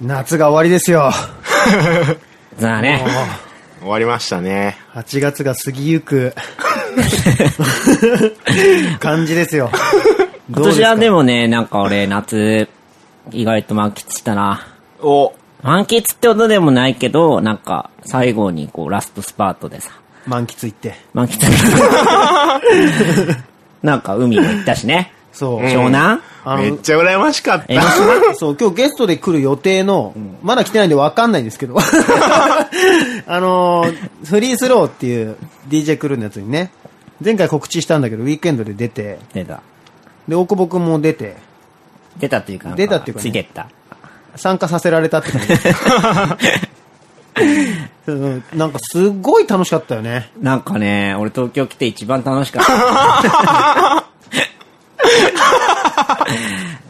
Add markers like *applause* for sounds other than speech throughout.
夏が終わりですよ。だね。終わりましたね。 8月が過ぎゆ *laughs* く感じですよ。今年はでもね、なんか俺、夏、意外と満喫したな。お、満喫ってことでもないけど、なんか、最後にこう、ラストスパートでさ、満喫行って。*laughs* 満喫。なんか、海も行ったしね。そう。湘南、あのめっちゃ羨ましかっ江ノた。島そう、今日ゲストで来る予定の、まだ来てないんでわかんないんですけど。 *laughs* あのーフリースローっていう DJ クルーのやつにね、前回告知したんだけど、ウィークエンドで出て、出た。で、大久保くんも出て、出たっていうかなん出たっていうかねついてった。参加させられたって感じ。 *laughs* うんなんかすごい楽しかったよね。なんかね、俺東京来て一番楽し *laughs* かった。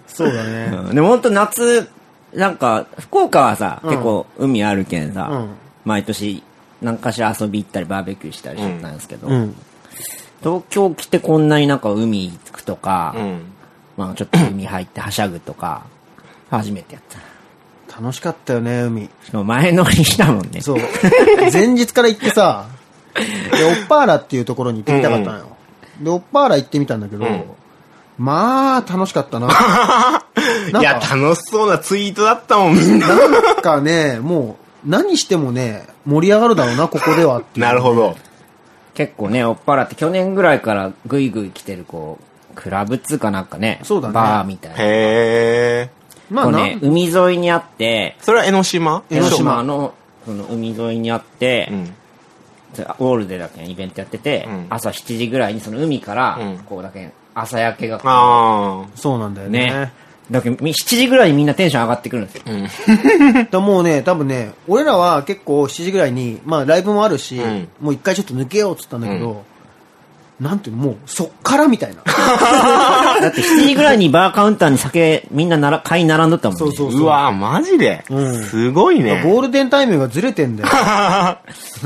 そうだね。うんでもほんと夏、なんか、福岡はさ、結構海あるけんさ、うん毎年何かしら遊び行ったりバーベキューしたりしてたんですけど、うん。東京来てこんなになんか海行くとか、うん。まあちょっと海入ってはしゃぐとか、初めてやった。楽しかったよね、海。しかも前乗りしたもんね。そう。 *laughs* 前日から行ってさ、で、オッパーラっていうところに行ってみたかったのよ。で、オッパーラ行ってみたんだけど、まあ、楽しかった *laughs* な。ないや、んか、楽しそうなツイートだったもん、みんな。なんかね、もう、何してもね、盛り上がるだろうな、ここではっていう。なるほど。結構ね、おっぱらって去年ぐらいからぐいぐい来てるこう、クラブっつうかなんかね、そうだねバーみたいな。へえ。まこあ、うなね、海沿いにあって、それは江ノ島江江ノノ島島のその海沿いにあって、うん。それウォールでだけイベントやってて、うん朝7時ぐらいにその海から、うんこうだけ朝焼けがこあそうなんだようね。ね。だけどみ7時ぐらいにみんなテンション上がってくるんですよ。だ *laughs* からもうね、多分ね、俺らは結構7時ぐらいに、まあ、ライブもあるし、うんもう一回ちょっと抜けようって言ったんだけど、なんていうの、もう、そっからみたいな。だって7時ぐらいにバーカウンターに酒みんななら買い並んどったもんね。そうあ。そうそう。うわマジでうんすごいね。ゴールデンタイムがずれてん *laughs* だよ。な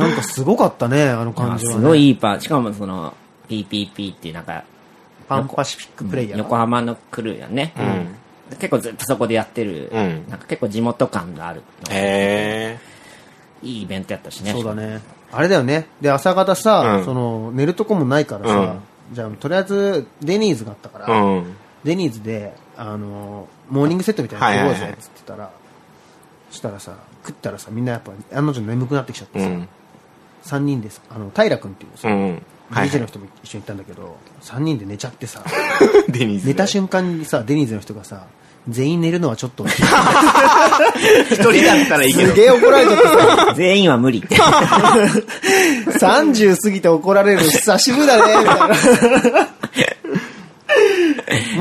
んかすごかったね、あの感あじすは、ね。ごいいいパー。しかもその、PPP っていうなんか、パンパシフィックプレイヤー。横浜のクルーやね。結構ずっとそこでやってる、うんなんか結構地元感がある、へえ。いいイベントやったしね。そうだね。あれだよね。で、朝方さ、うんその、寝るとこもないからさ、じゃあ、とりあえず、デニーズがあったから、うん。デニーズで、あの、モーニングセットみたいなの食はいおうはいはいぜ、つってたら、そしたらさ、食ったらさ、みんなやっぱ、案の定眠くなってきちゃってうさ、ん。 3人でさ、あの、平君っていううさ、ん。はい DJ の人も一緒に行ったんだけど、3人で寝ちゃってさ、 *laughs* デニーズ。寝た瞬間にさ、デニーズの人がさ、全員寝るのはちょっ *laughs* と、一人だったらいいけすど。げえ怒られちゃっ *laughs* 全員は無理 *laughs* って。てさ、30過ぎて怒られるの久しぶりだね、みた *laughs* いな。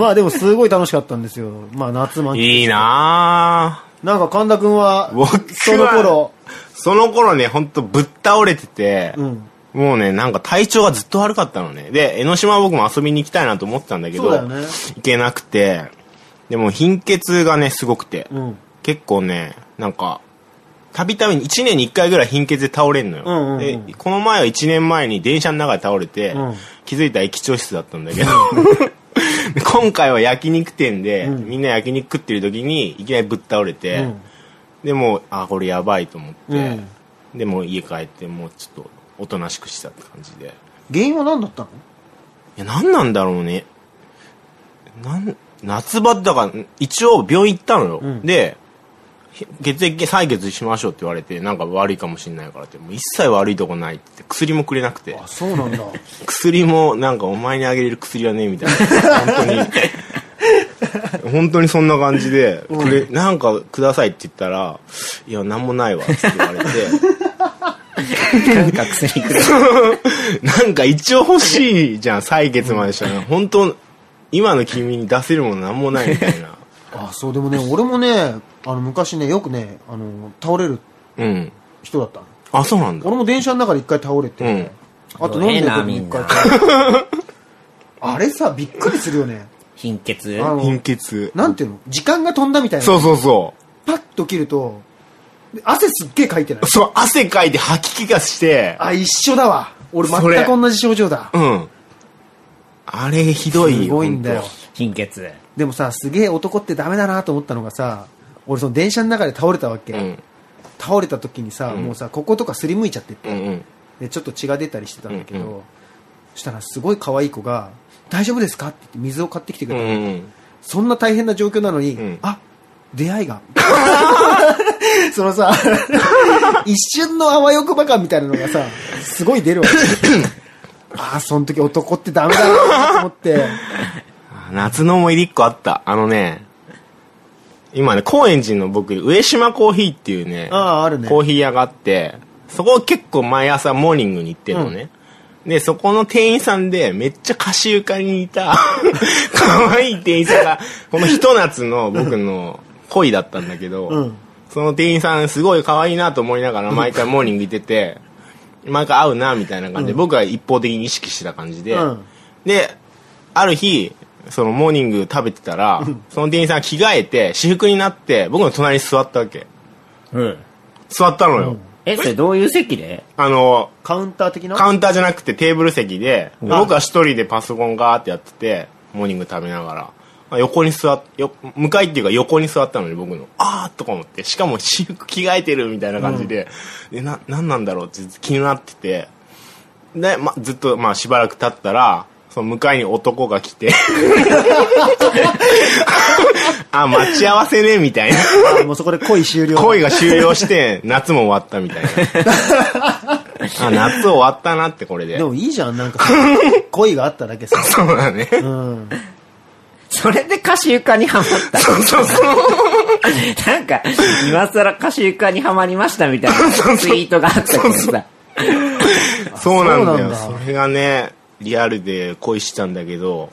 まあでもすごい楽しかったんですよ。まあ夏満喫。いいなぁ。なんか神田くんは僕は、その頃、その頃ね、ほんとぶっ倒れてて、うんもうね、なんか体調がずっと悪かったのね。で、江ノ島は僕も遊びに行きたいなと思ってたんだけそうど、だよね行けなくて、でも貧血がね、すごくて、うん。結構ね、なんか、たびたび1年に1回ぐらい貧血で倒れんのよ。うんうんうんで、この前は1年前に電車の中で倒れて、うん気づいたら液腸室だったんだけど、 *laughs* で今回は焼肉店で、うんみんな焼肉食ってる時にいきなりぶっ倒れて、うんでもうあこれやばいと思って、うんでもう家帰ってもうちょっとおとなしくしたって感じでい原因は何だったのや何なんだろうねなん夏場だから一応病院行ったのよ、うんでひ血液採血しましょうって言われてなんか悪いかもしれないからってもう一切悪いとこないって言って薬もくれなくてあ、そうなんだ。薬もなんかお前にあげれる薬はねえみたいな本当に *laughs* 本当にそんな感じで、くれなんかくださいって言ったら「いや何もないわ」って言われてなんか薬くれ。 *laughs* なんか一応欲しいじゃん採血までしたら、本当今の君に出せるもの何もないみた *laughs* いな *laughs* あ、そう、でもね、俺もね、あの、昔ね、よくね、あの、倒れるうん人だったの。あそうなんだ俺も電車の中で一回倒れて、うんあと飲んでる時に一回倒れて *laughs* あれさ、びっくりするよね。貧血あの貧血なんていうの時間が飛んだみたいな。そうそうそ。パッと切ると、で汗すっげえかいてないうそう汗かいて吐き気がしてあ、一緒だわ。俺全それく同じ症状だ。うんあれひどいよすごいんだよ。本貧血。でもさ、すげえ男ってダメだなと思ったのがさ、俺その電車の中で倒れたわけ。うん倒れた時にさ、うんもうさ、こことかすりむいちゃっててうんうんでちょっと血が出たりしてたんだけど、うんうそしたらすごい可愛い子が、大丈夫ですかって言って水を買ってきてくうれたの、んうんそんな大変な状況なのに、うんあ出会 *laughs* いが。そのさ、 *laughs* 一瞬のあわよくば感みたいなのがさ、すごい出るわけ。 *laughs* ああ、その時男ってダメだなと思って。あ夏の思い出一個あった。あのね、今ね、高円寺の僕、上島コーヒーっていうね、ああ、あるね。コーヒー屋があって、そこ結構毎朝モーニングに行ってんのね。で、そこの店員さんで、めっちゃ歌手床にいた、 *laughs* 可愛い店員さんが、このひと夏の僕の恋だったんだけど、うんその店員さんすごい可愛いなと思いながら毎回モーニング行ってて、毎回会うなみたいな感じで、僕は一方的に意識してた感じで、うんで、ある日、そのモーニング食べてたら、その店員さんが着替えて、私服になって、僕の隣に座ったわけ。うん。座ったのよ。え、それどういう席であの、カウンター的なカウンターじゃなくてテーブル席で、で僕は一人でパソコンガーってやってて、モーニング食べながらあ、横に座っ、よ、向かいっていうか横に座ったのに僕の、あーっとか思って、しかも私服着替えてるみたいな感じで、で、な、なんなんだろうってずっと気になってて、で、ま、ずっと、まあ、しばらく経ったら、その向かいに男が来 *laughs* て、あ、待ち合わせね、みたいな。あもうそこで恋終了。 *laughs* 恋が終了して、夏も終わったみたいな。 *laughs* あ、夏終わったなってこれで。でもいいじゃん、なんかさ恋があっただけさ。 *laughs* そうだね。うん。それで歌手床にはまった。そうそうそう。 *laughs* なんか、今更歌手床にはまりましたみたいなツイートがあったけどさ。そうなんだよ。そうそなんだれがね、リアルで恋したんだけど、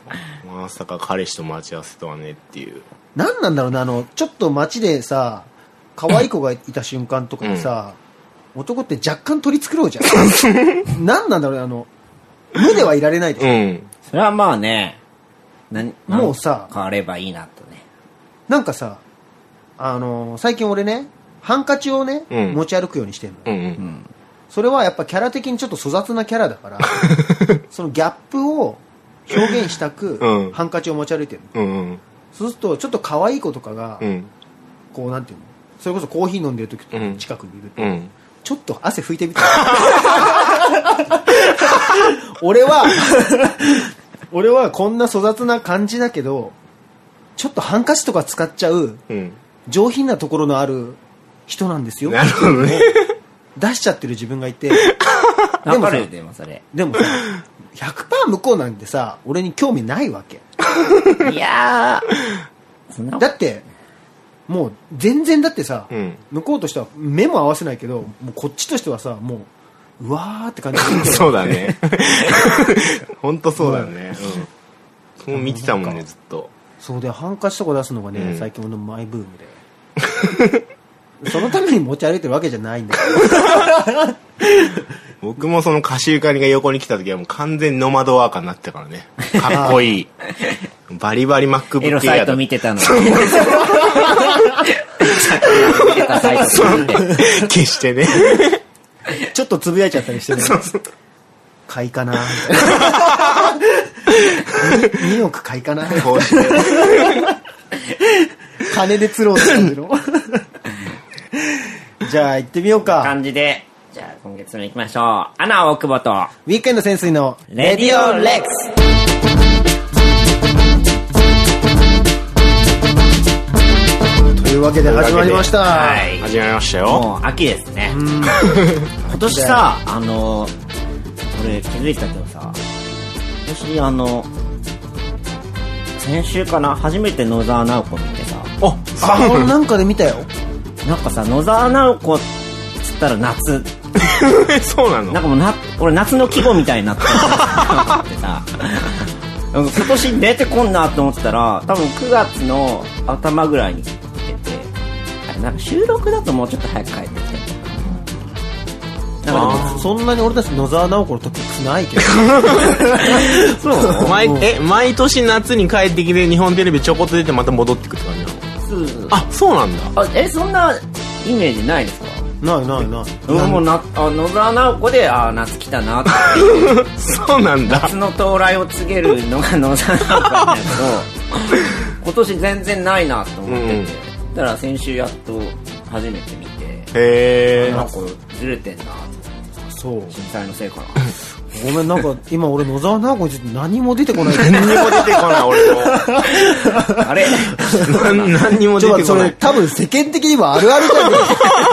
まさか彼氏と待ち合わせとはねっていう。なんなんだろうな、あの、ちょっと街でさ、可愛い子がいた瞬間とかにさ、男って若干取り繕うじゃん。なんなんだろうね、あの、無ではいられないでしうょ。ん。それはまあね、何、なんもうさ変わればいいなとね。なんかさ、あの最近俺ね、ハンカチをね、うん持ち歩くようにしてるの、うんうん。それはやっぱキャラ的にちょっと粗雑なキャラだ *laughs* から、そのギャップを表現したく、うんハンカチを持ち歩いてるの。うんうん。そうすると、ちょっと可愛い子とかが、うん。こうなんていうのそれこそコーヒー飲んでる時とか近くにいると、うん。ちょっと汗拭いてみた。俺は、俺はこんな粗雑な感じだけど、ちょっとハンカチとか使っちゃううん。上品なところのある人なんですよ。なるほどね。出しちゃってる自分がいて。でわもかさる、よ、でもそれ。でもさ、100%向こうなんてさ、俺に興味ないわけ。いやー、そんなことだって、もう全然だってさ、うん向こうとしては目も合わせないけど、もうこっちとしてはさ、もう、うわーって感じで見てるそうだね。 *laughs* ほんとそうだね。うん。そう見てたもんね、ずっと。そうで、ハンカチとか出すのがね、うん最近俺のマイブームで。そ *laughs* のために持ち歩いてるわけじゃないんだけ僕もその歌手カニが横に来た時はもう完全にノマドワーカーになってたから *laughs* ね。かっこいい。バリバリ MacBook エロ Air サイトだ見てたのに。さっきの見てたサイト見て。決してね。ど、ちょっとつぶやいちゃったりしてね、そうそう買いかなみたいな。2億買いかなこうして金で釣ろうって感じの。じゃあ行ってみようか。感じで、じゃあ今月も行きましょう。アナ大久保と、ウィークエンド潜水のレディオレックスというわけで始まりました。はい始まりましたよ。もう秋ですね。今年さ、あの、俺気づいたけどさ、今年あの、先週かな、初めて野沢直子見てさ、おあ、俺なんかで見たよ。なんかさ、野沢直子っつったら夏、そうななんのかもうな、俺夏の季語みたいにな *laughs* ってるってさ、なんか今年出てこんなと思ってたら、多分9月の頭ぐらいに出て、あれなんか収録だともうちょっと早く帰ってきてなんかそんなに俺たち野沢直子のトピックスないけど。でも、そう毎え、毎年夏に帰ってきて日本テレビちょこっと出てまた戻ってくって感じなのあ、そうなんだ。あえそんなイメージないですかないないない。俺もうなあ野沢直子であー夏来たなってそうなんだ夏。の到来を告げるのが野沢直子なんだけど今年全然ないなと思ってて、たら先週やっと初めて見て、へえなんかずれてんなってそう。震災のせいかなごめん、なんか、今俺、野沢直子について何も出てこない。何にも出てこない俺もあれ *laughs* 何何にもち出ょってとそこなれい多分世間的にはあるあるじゃ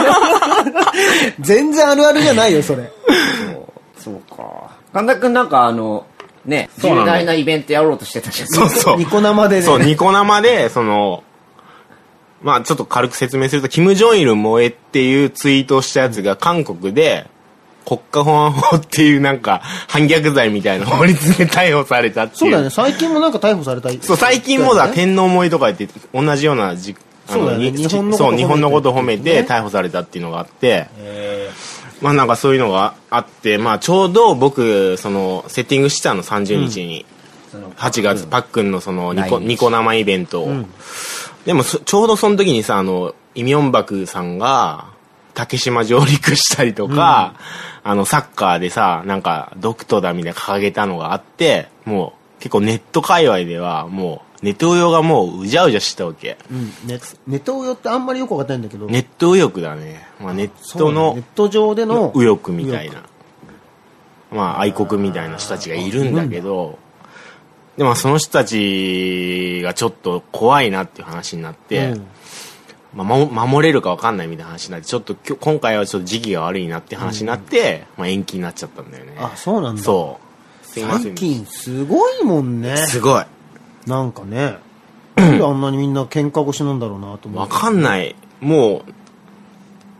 ない全然あるあるじゃないよ、それ。そうか神田くんなんかあのねそうな重の大なイベントやろうとしてたじゃんそうそうニコ生でね。そう、ニコ生で、その、まあちょっと軽く説明すると、キム・ジョンイル萌えっていうツイートをしたやつが韓国で、国家保安法っていうなんか、反逆罪みたいな法律で逮捕されたっていう。そうだね、最近もなんか逮捕された。そう、最近もだ、ね天皇萌えとか言って、同じようなじ、あそうだの、ねに日本のことそう、日本のこと褒褒めめててね逮捕されたっていうのがあって、まあなんかそういうのがあって、まあちょうど僕、その、セッティングしてたの30日に、その8月、パックンのそのニコ、来日ニコ生イベントを。でもそ、ちょうどその時にさ、あの、イミョンバクさんが、竹島上陸したりとか、あの、サッカーでさ、なんか、ドクトだみたいな掲げたのがあって、もう、結構ネット界隈では、もう、ネトウヨがもう、うじゃうじゃしてたわけ。うん、ネネットウヨってあんまりよくわかんないんだけど。ネット右翼だね。まあ、ネッそうトなののネッ、ト上での。右翼みたい右なまあ愛国みたいな人たちがいるんだけどでもその人たちがちょっと怖いなっていう話になって、うんまあ、も守れるか分かんないみたいな話になってちょっときょ今回はちょっと時期が悪いなって話になって、まあ、延期になっちゃったんだよねあ、そうなんだ。そうすいませ最ん近すごいもんね。すごいなんか *clears throat* ね。なんであんなにみんな喧嘩腰なんだろうなと思分う。かんないもう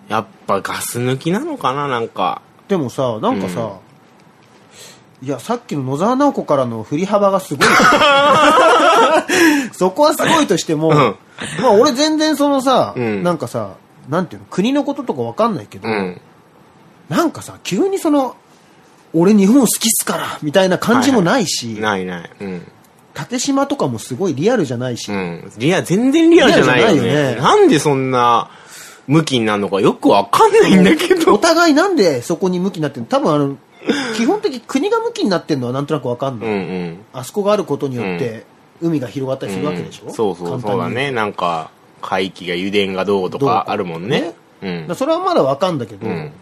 やっぱガス抜きなのかななんかでもさ、なんかさ、いや、さっきの野沢直子からの振り幅が *laughs* すごい。そこはすごいとしても、んまあ俺全然そのさ、うんなんかさ、なんていうの、国のこととかわかんないけど、うんなんかさ、急にその、俺日本好きっすから、みたいな感じもないし、ないないうん縦島とかもすごいリアルじゃないし、うん。リア、全然リアルじゃないよね。リアルじゃないよねなんでそんな、向きになるのかよくわかんないんだけおど。互いなんでそこに向きになってるの多分あの、基本的に国が向きになってるのはなんとなくわかんうない。んうん。あそこがあることによって、海が広がったりするわけでしうょ、んそうそう、簡単そうにだね。なんか、海域が油田がどうとどうかあるもんね。うだんから。それはまだわかんだけど、うん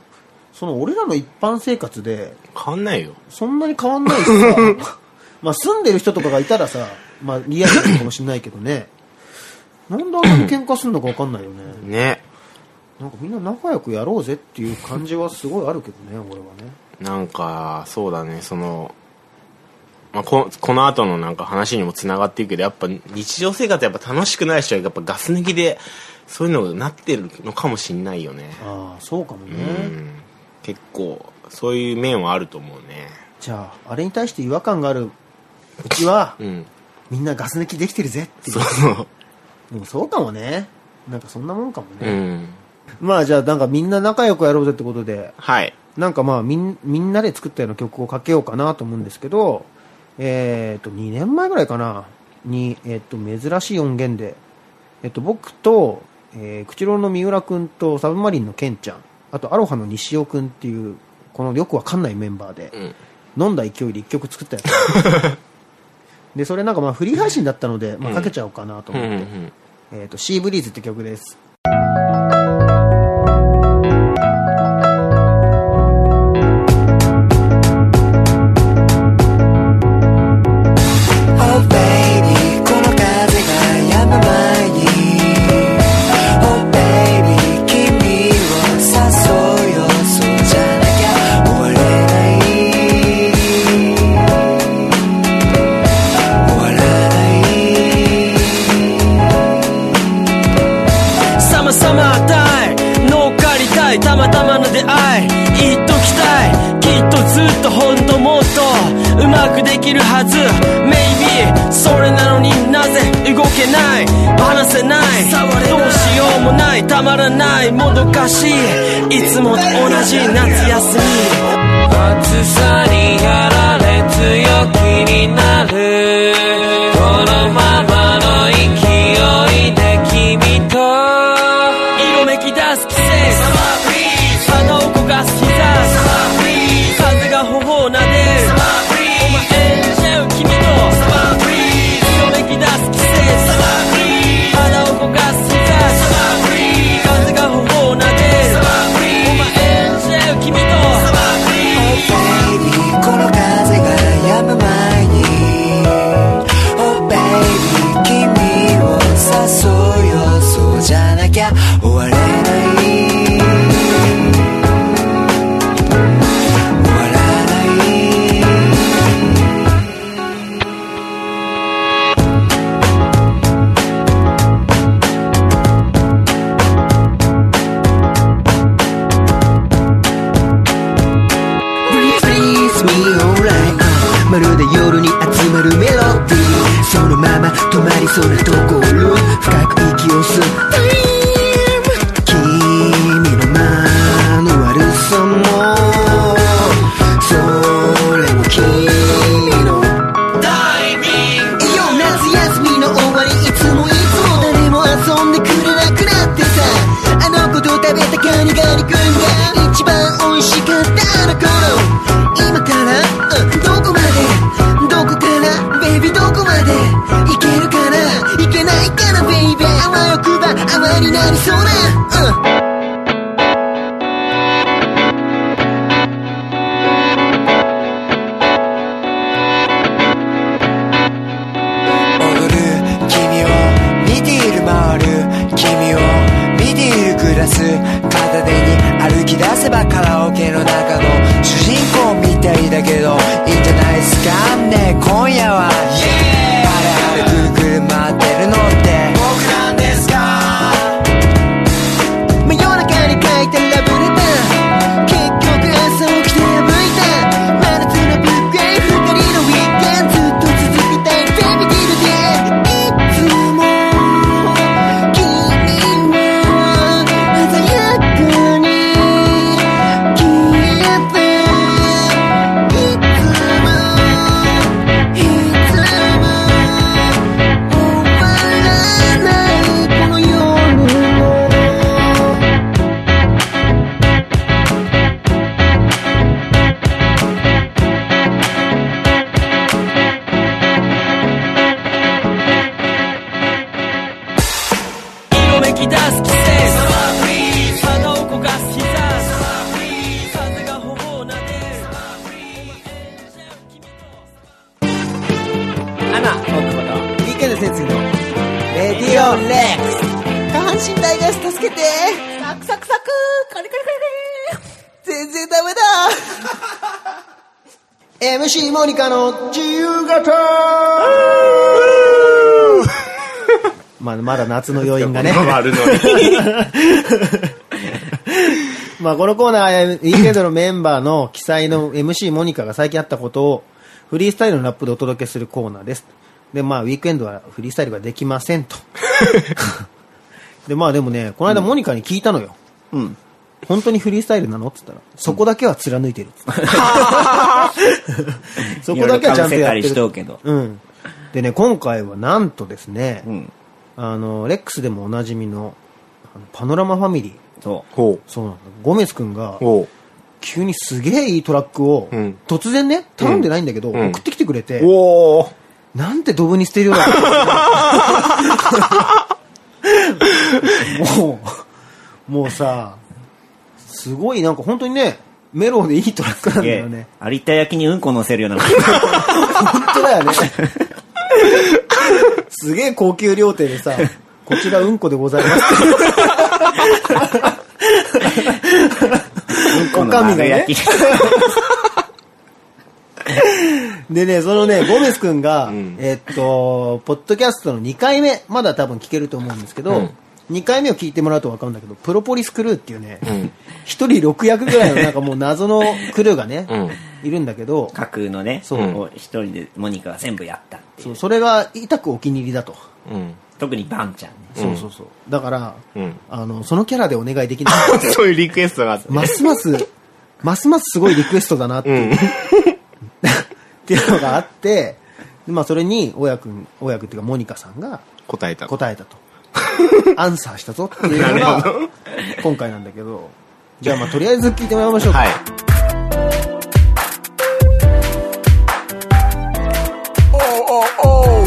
その俺らの一般生活で、変わんないよ。そんなに変わんないしさ、 *laughs* まあ住んでる人とかがいたらさ、まあリアルなのかもしれないけどね、なんであんなに喧嘩するのかわかんないよね。ね。なんかみんな仲良くやろうぜっていう感じはすごいあるけどね、俺はね。なんか、そうだね、その、まあ、ここの後のなんか話にもつながっていくけど、やっぱ日常生活やっぱ楽しくない人はやっぱガス抜きで、そういうのになってるのかもしんないよね。ああ、そうかもね。うん。結構、そういう面はあると思うね。じゃあ、あれに対して違和感があるうちは、うん。みんなガス抜きできてるぜっていうそう。そう。でもそうかもね。なんかそんなもんかもうね。ん。まあじゃあなんかみんな仲良くやろうぜってことで、はい。なんかまあみんみんなで作ったような曲をかけようかなと思うんですけど、えっ、と、2年前ぐらいかな、に、えっ、と、珍しい音源で、えっ、と、僕と、えー、口論の三浦くんとサブマリンのケンちゃん、あとアロハの西尾くんっていう、このよくわかんないメンバーでう、ん。飲んだ勢いで1曲作ったやつ。 *laughs* で、それなんかまあフリー配信だったので、まあかけちゃおうかなとうん思って。うんえっ、と、シーブリーズって曲です。 Oh baby この風が止む前に Oh baby 君を誘うよそうじゃなきゃ終われない終わらないサマサマタイ乗っかりたいたまたまの出会い言っときたいきっとずっと本当もっとうまくできるはず Maybe それなのになぜ動けない話せないどうしようもないたまらないもどかしいいつもと同じ夏休み暑さにやられ強気になるこのままの勢いで君と色めき出す季節花を焦がす日差し風が頬を撫でるお前演じちゃう君と色めき出す季節花を焦がす日差しわれない終わらないまるで夜に集まるメロディーそのまま止まりそうなところ深く息を吸う Dream 君の間の悪さもそれも君のタイミングよ夏休みの終わりいつもいつも誰も遊んでくれなくなってさあの子と食べたカニガリ君が一番美味しかったあの頃今からうんどこまでどこからベイビーどこまでいけるかないけないかなベイビーあわよくばあまになりそうなうん踊る君を見ている回る君を見ている暮らす片手に歩き出せばカラオケの中の主人公みたいだけどいいんじゃないですかねえ今夜は誰歩く車ってるのって僕なんですか真夜中に書いたラブレター結局朝起きて破いた真夏のビッグエイ二人のウィークエンドずっと続けたいベビーディルでいつも君は鮮やかに消えていつもいつも終わらないこの夜も色めき出す季節肌を焦がす日差し風が頬を撫でるアナ、トークバタィーケンド先生の、レディオレックス。下半身大ガス助けてサクサクサクカリカリカリカリ全然ダメだ *laughs* MC モニカの自由形 *laughs* まあ、まだ *laughs* 夏の余韻がね。丸のりまあ、このコーナー、ウィーケンドのメンバーの記載の MC モニカが最近あったことを、フリースタイルのラップでお届けするコーナーです。で、まあ、ウィークエンドはフリースタイルができません *laughs* と。で、まあでもね、この間モニカに聞いたのよ。うん。本当にフリースタイルなのって言ったら、そこだけは貫いてるっ *laughs* つって。そこだけはちゃんとやっていろいろかぶせたりしとるう。けどうん。でね、今回はなんとですね、うん。あの、レックスでもおなじみの、あのパノラマファミリー。そほそうなんだ。ゴメス君がう、ほう急にすげえいいトラックを、うん突然ね、頼んでないんだけど、うん送ってきてくれて、おおなんてドブに捨てるよ *laughs* うな。もう、もうさ、すごいなんか本当にね、メロでいいトラックなう。んだすげよねえ。。有田焼きにうんこ乗せるような。本当だよね。すげえ高級料亭でさ、こちらうんこでございますって。うんこ女の将が丸ね焼き。でね、そのね、ゴメス君が、んえっと、ポッドキャストの2回目、まだ多分聞けると思うんですけど、ん2回目を聞いてもらうと分かるんだけど、プロポリスクルーっていうね、ん一1人6役ぐらいのなんかもう謎のクルーがね、いるんだけど、架空のね、そうを一人でモニカが全部やったっていう。そうそれが痛くお気に入りだと。うん特にバンちゃんね。そうそうそう。だから、うんあの、そのキャラでお願いできない *laughs* ってそういうリクエストがあってますます、ますますすごいリクエストだ *laughs* なっていう、っていうのがあって、でまあそれに、親くん、親くんっていうかモニカさんが答えた答えた *laughs* と。アンサーしたぞっていうのが、今回なんだけど、じゃあまあとりあえず聞いてもらいましょうか。はいおうおうおう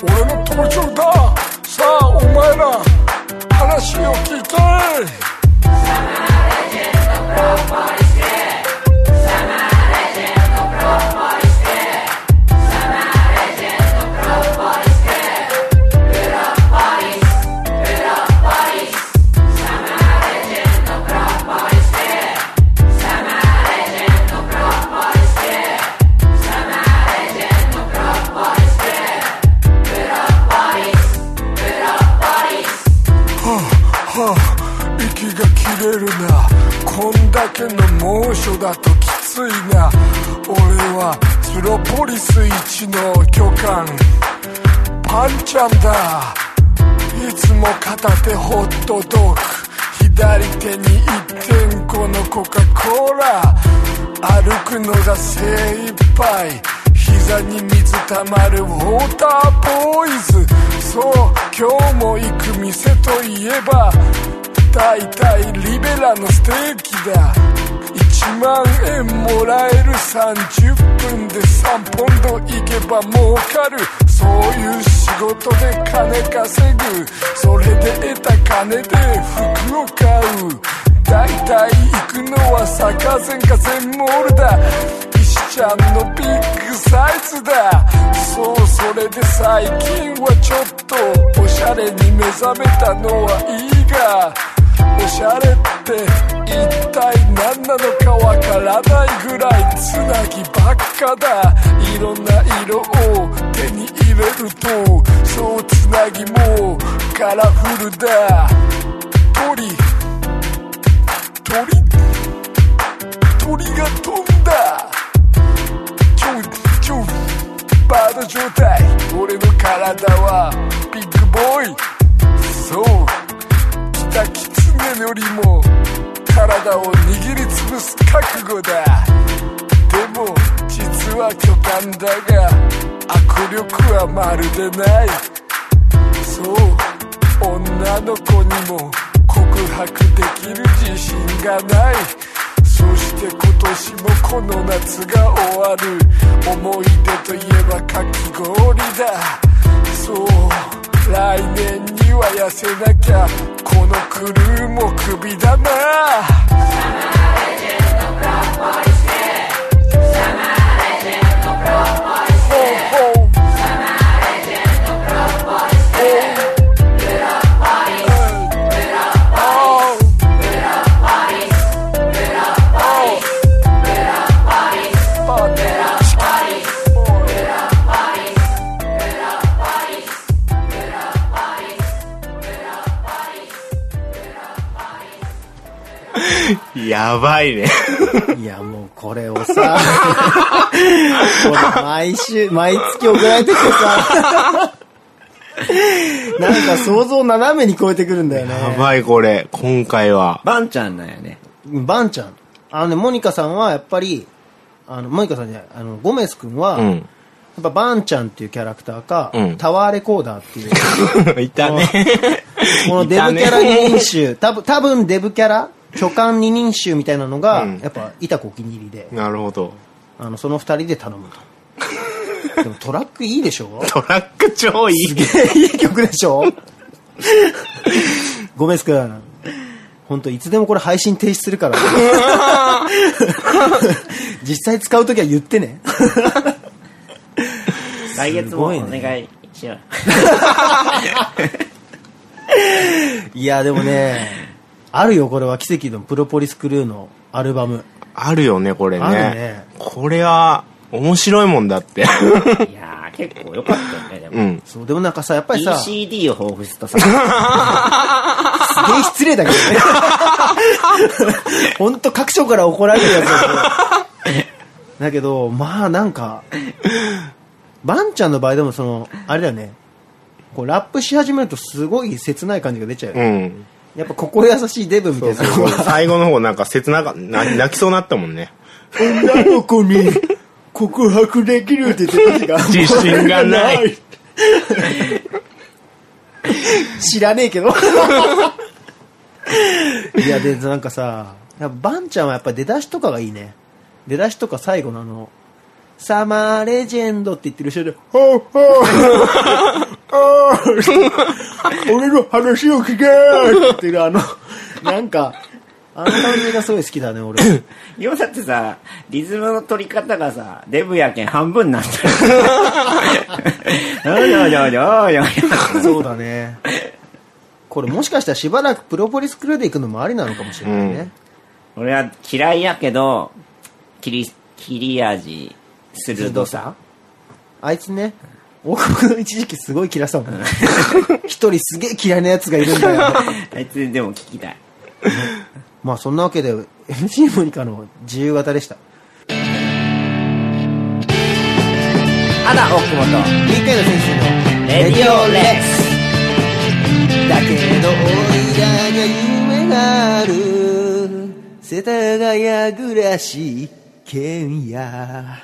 俺の登場ださあお前ら話を聞いて息が切れるなこんだけの猛暑だときついな俺はスロポリス一の巨漢パンちゃんだいつも片手ホットドッグ左手に1.5のコカ・コーラ歩くのが精一杯膝に水たまるウォーターボーイズそう今日も行く店といえば大体リベラのステーキだ1万円もらえる30分で3ポンド行けば儲かるそういう仕事で金稼ぐそれで得た金で服を買う大体行くのは坂前か全モールだ石ちゃんのビッグサイズだそうそれで最近はちょっとおしゃれに目覚めたのはいいがおしゃれって一体何なのかわからないぐらいつなぎばっかだいろんな色を手に入れるとそうつなぎもカラフルだ鳥鳥鳥が飛んだちょいちょいバード状態俺の体はビッグボーイそうたキツネよりも体を握りつぶす覚悟だでも実は巨漢だが握力はまるでないそう女の子にも告白できる自信がないそして今年もこの夏が終わる思い出といえばかき氷だそう来年には痩せなきゃこのクルーもクビだなほうほうほうほうほうやばいね。いや、もうこれをさ、これ毎週、毎月送られてきて *laughs* さ、なんか想像を斜めに超えてくるんだよやね。ばいこれ、今回は。バンちゃんなんやね。バンちゃん。あのね、モニカさんはやっぱり、あの、モニカさんじゃない、あの、ゴメス君は、うやっん。ぱバンちゃんっていうキャラクターか、うんタワーレコーダーっていう、いたね。 *laughs* このデブキャラ二人衆、多分、多分デブキャラ、巨漢二人衆みたいなのが、うんやっぱ、いたこお気に入りで、なるほど。あの、その二人で頼む *laughs* と。でもトラックいいでしょトラック超いい。 *laughs* いい曲でしょ *laughs* ごめんすくん。ほんと、いつでもこれ配信停止するから。 *laughs* 実際使うときは言って *laughs* ね。来月もおすごいね願いしよう。いや、でもね、あるよ、これは奇跡のプロポリスクルーのアルバム。あるよね、これね。あるねこれは、面白いもんだって。いやー、結構良かったようね、でも。ん。そう、でもなんかさ、やっぱりさ、すげ ECD を彷彿と *laughs* さ、え失礼だけどね。 *laughs* ほんと各所から怒られるやつだけど。だけど、まあなんか、バンちゃんの場合でもその、あれだよね。こうラップし始めるとすごい切ない感じが出ちゃうよねうん。やっぱ心優しいデブみたいな *laughs* のが最後の方なんか切なか、な泣きそうになったもんね。女の子に告白できるって言ってた時が自信がない。知らねえけど *laughs* いやでなんかさやっぱバンちゃんはやっぱ出だしとかがいいね出だしとか最後のあのサマーレジェンドって言ってる人で、ほうほう、あー俺の話を聞けーって言ってるあの、なんか、あの感じがすごい好きだね、俺。今だってさ、リズムの取り方がさ、デブやけん半分にな *laughs* ったよ。おいおいおいおいおい *laughs* そうだね。これもしかしたらしばらくプロポリスクルーで行くのもありなのかもしれないね。俺は嫌いやけど、切り、切り味、*laughs* 鋭さ。あいつね、王国の一時期すごい嫌いさもんね。一人すげえ嫌いな奴がいるんだよ。あいつでも聞きたい。まあそんなわけで MC モニカの自由形でした。あだ、奥本。一回の選手のレディオレックス。だけど俺らには夢がある世田谷暮らし県や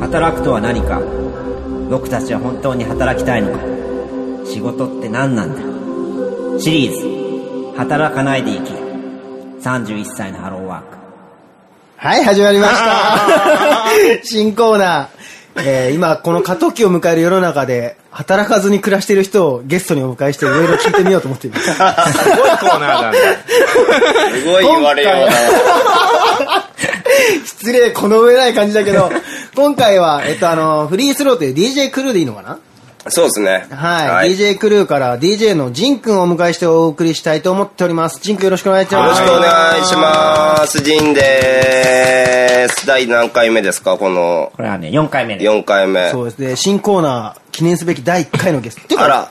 働くとは何か僕たちは本当に働きたいのか仕事って何なんだシリーズ「働かないで生きる」31歳のハローワークはい、始まりま *laughs* した。新コーナー。えー今、この過渡期を迎える世の中で、働かずに暮らしている人をゲストにお迎えして、いろいろ聞いてみようと思ってい *laughs* ます。すごいコーナーなんだ。すごい言われよう失礼、この上ない感じだけ *laughs* ど、今回は、えっと、あの、フリースローという DJ クルーでいいのかなな。そうですね。はい、DJ クルーから DJ のジンくんをお迎えしてお送りしたいと思っております。ジンくんよろしくお願いしよろます。しくお願いします。ジンです。第何回目ですかこのこれはね4回目です4回目。そうですね、新コーナー、記念すべき第1回のゲスト。てあか、ら、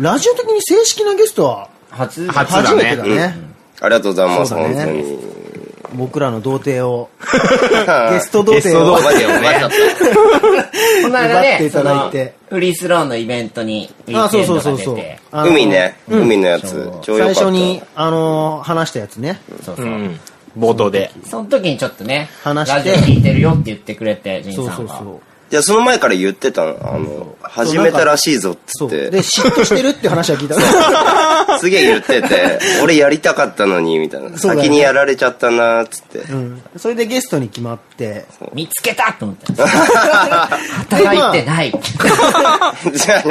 ラジオ的に正式なゲストは初初初めてだだね。ありがとうございます。そうだね本当に。僕らの童貞 *laughs* を、ゲスト童貞をお待ちを待っちゃった。この間奪ってねいただいてそのフリースローのイベントにウィあーそクエうンドそうそうが出そうて。あの海。ね、海のやつ、ちょ最うどよかった初に、あのー話したやつね。そうう。そうん冒頭で。その時にちょっとね話ラしてジオ聞いてるよって言ってくれてジンそうさそんうがそう。じゃあその前から言ってたの。あの、始めたらしいぞっつそっう。てで、。嫉妬してるって話は聞いた。 *laughs* そすげえ言ってて、俺やりたかったのに、みたいな。そうだね先にやられちゃったな、っつって。ううん。それでゲストに決まって。見つけたと思った *laughs* んですよ働いてないじゃあ、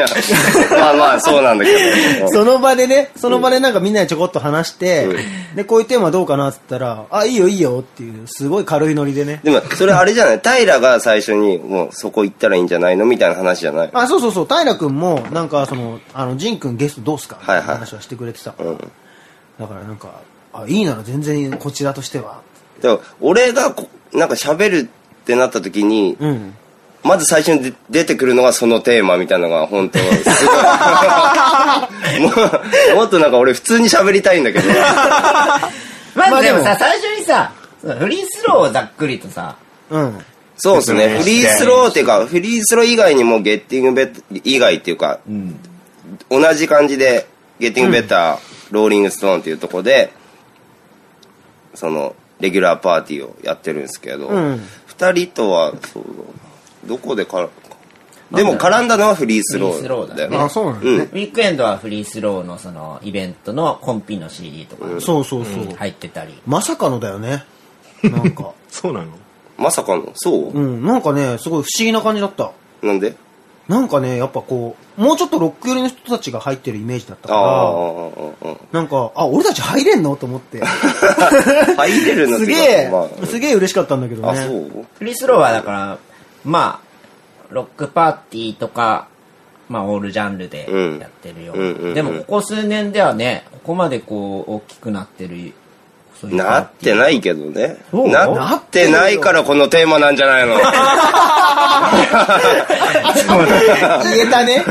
まあまあ、そうなんだけど。その場でね、その場でなんかみんなでちょこっと話して、で、こういうテーマどうかなって言ったら、あ、いいよいいよっていう、すごい軽いノリでね。でも、それあれじゃない平が最初に、もうそこ行ったらいいんじゃないのみたいな話じゃない。あ、そうそうそう、平君も、なんかその、あの、仁君ゲストどうすかみたいなはいはい話はしてくれてたから。だからなんか、あ、いいなら全然こちらとしては。でも、俺がこ、なんか喋るってなった時に、うん。まず最初にで出てくるのがそのテーマみたいなのが、本当すごい。もうもっとなんか俺普通に喋りたいんだけど。ままああでもでさ、も最初にさ、そのフリースローをざっくりとさ、うん。そうです説明ね。してフリースローっていうか、フリースロー以外にもゲッティングベッド以外っていうか、同じ感じで、ゲッティングベッター、ローリングストーンっていうとこで、その、レギュラーパーティーをやってるんですけど、二、ん人とは、そうだなどこでから、でも絡んだのはフリースロフリースローーだだよよねね。あ、そうなんだね。うんウィークエンドはフリースローのそのイベントのコンピの CD とかそうそうそう。入ってたり、まさかのだよね。なんか。 *laughs* そうなのまさかの、そう、うん、なんかね、すごい不思議な感じだった。なんでなんかね、やっぱこう、もうちょっとロック寄りの人たちが入ってるイメージだったあかあ、ら、なんか、あ、俺たち入れんのと思って。入れるのっすてげいうえか、ま、あ *laughs* すげえ嬉しかったんだけどあ、ね。そうフリースローはだから、まあ、ロックパーティーとか、まあオールジャンルでうんやってるよ。うんうんうんでもここ数年ではね、ここまでこう大きくなってる、そういうパなーっティてないけどね。そうなってないからこのテーマなんじゃないの *laughs* 言えた *laughs* ね。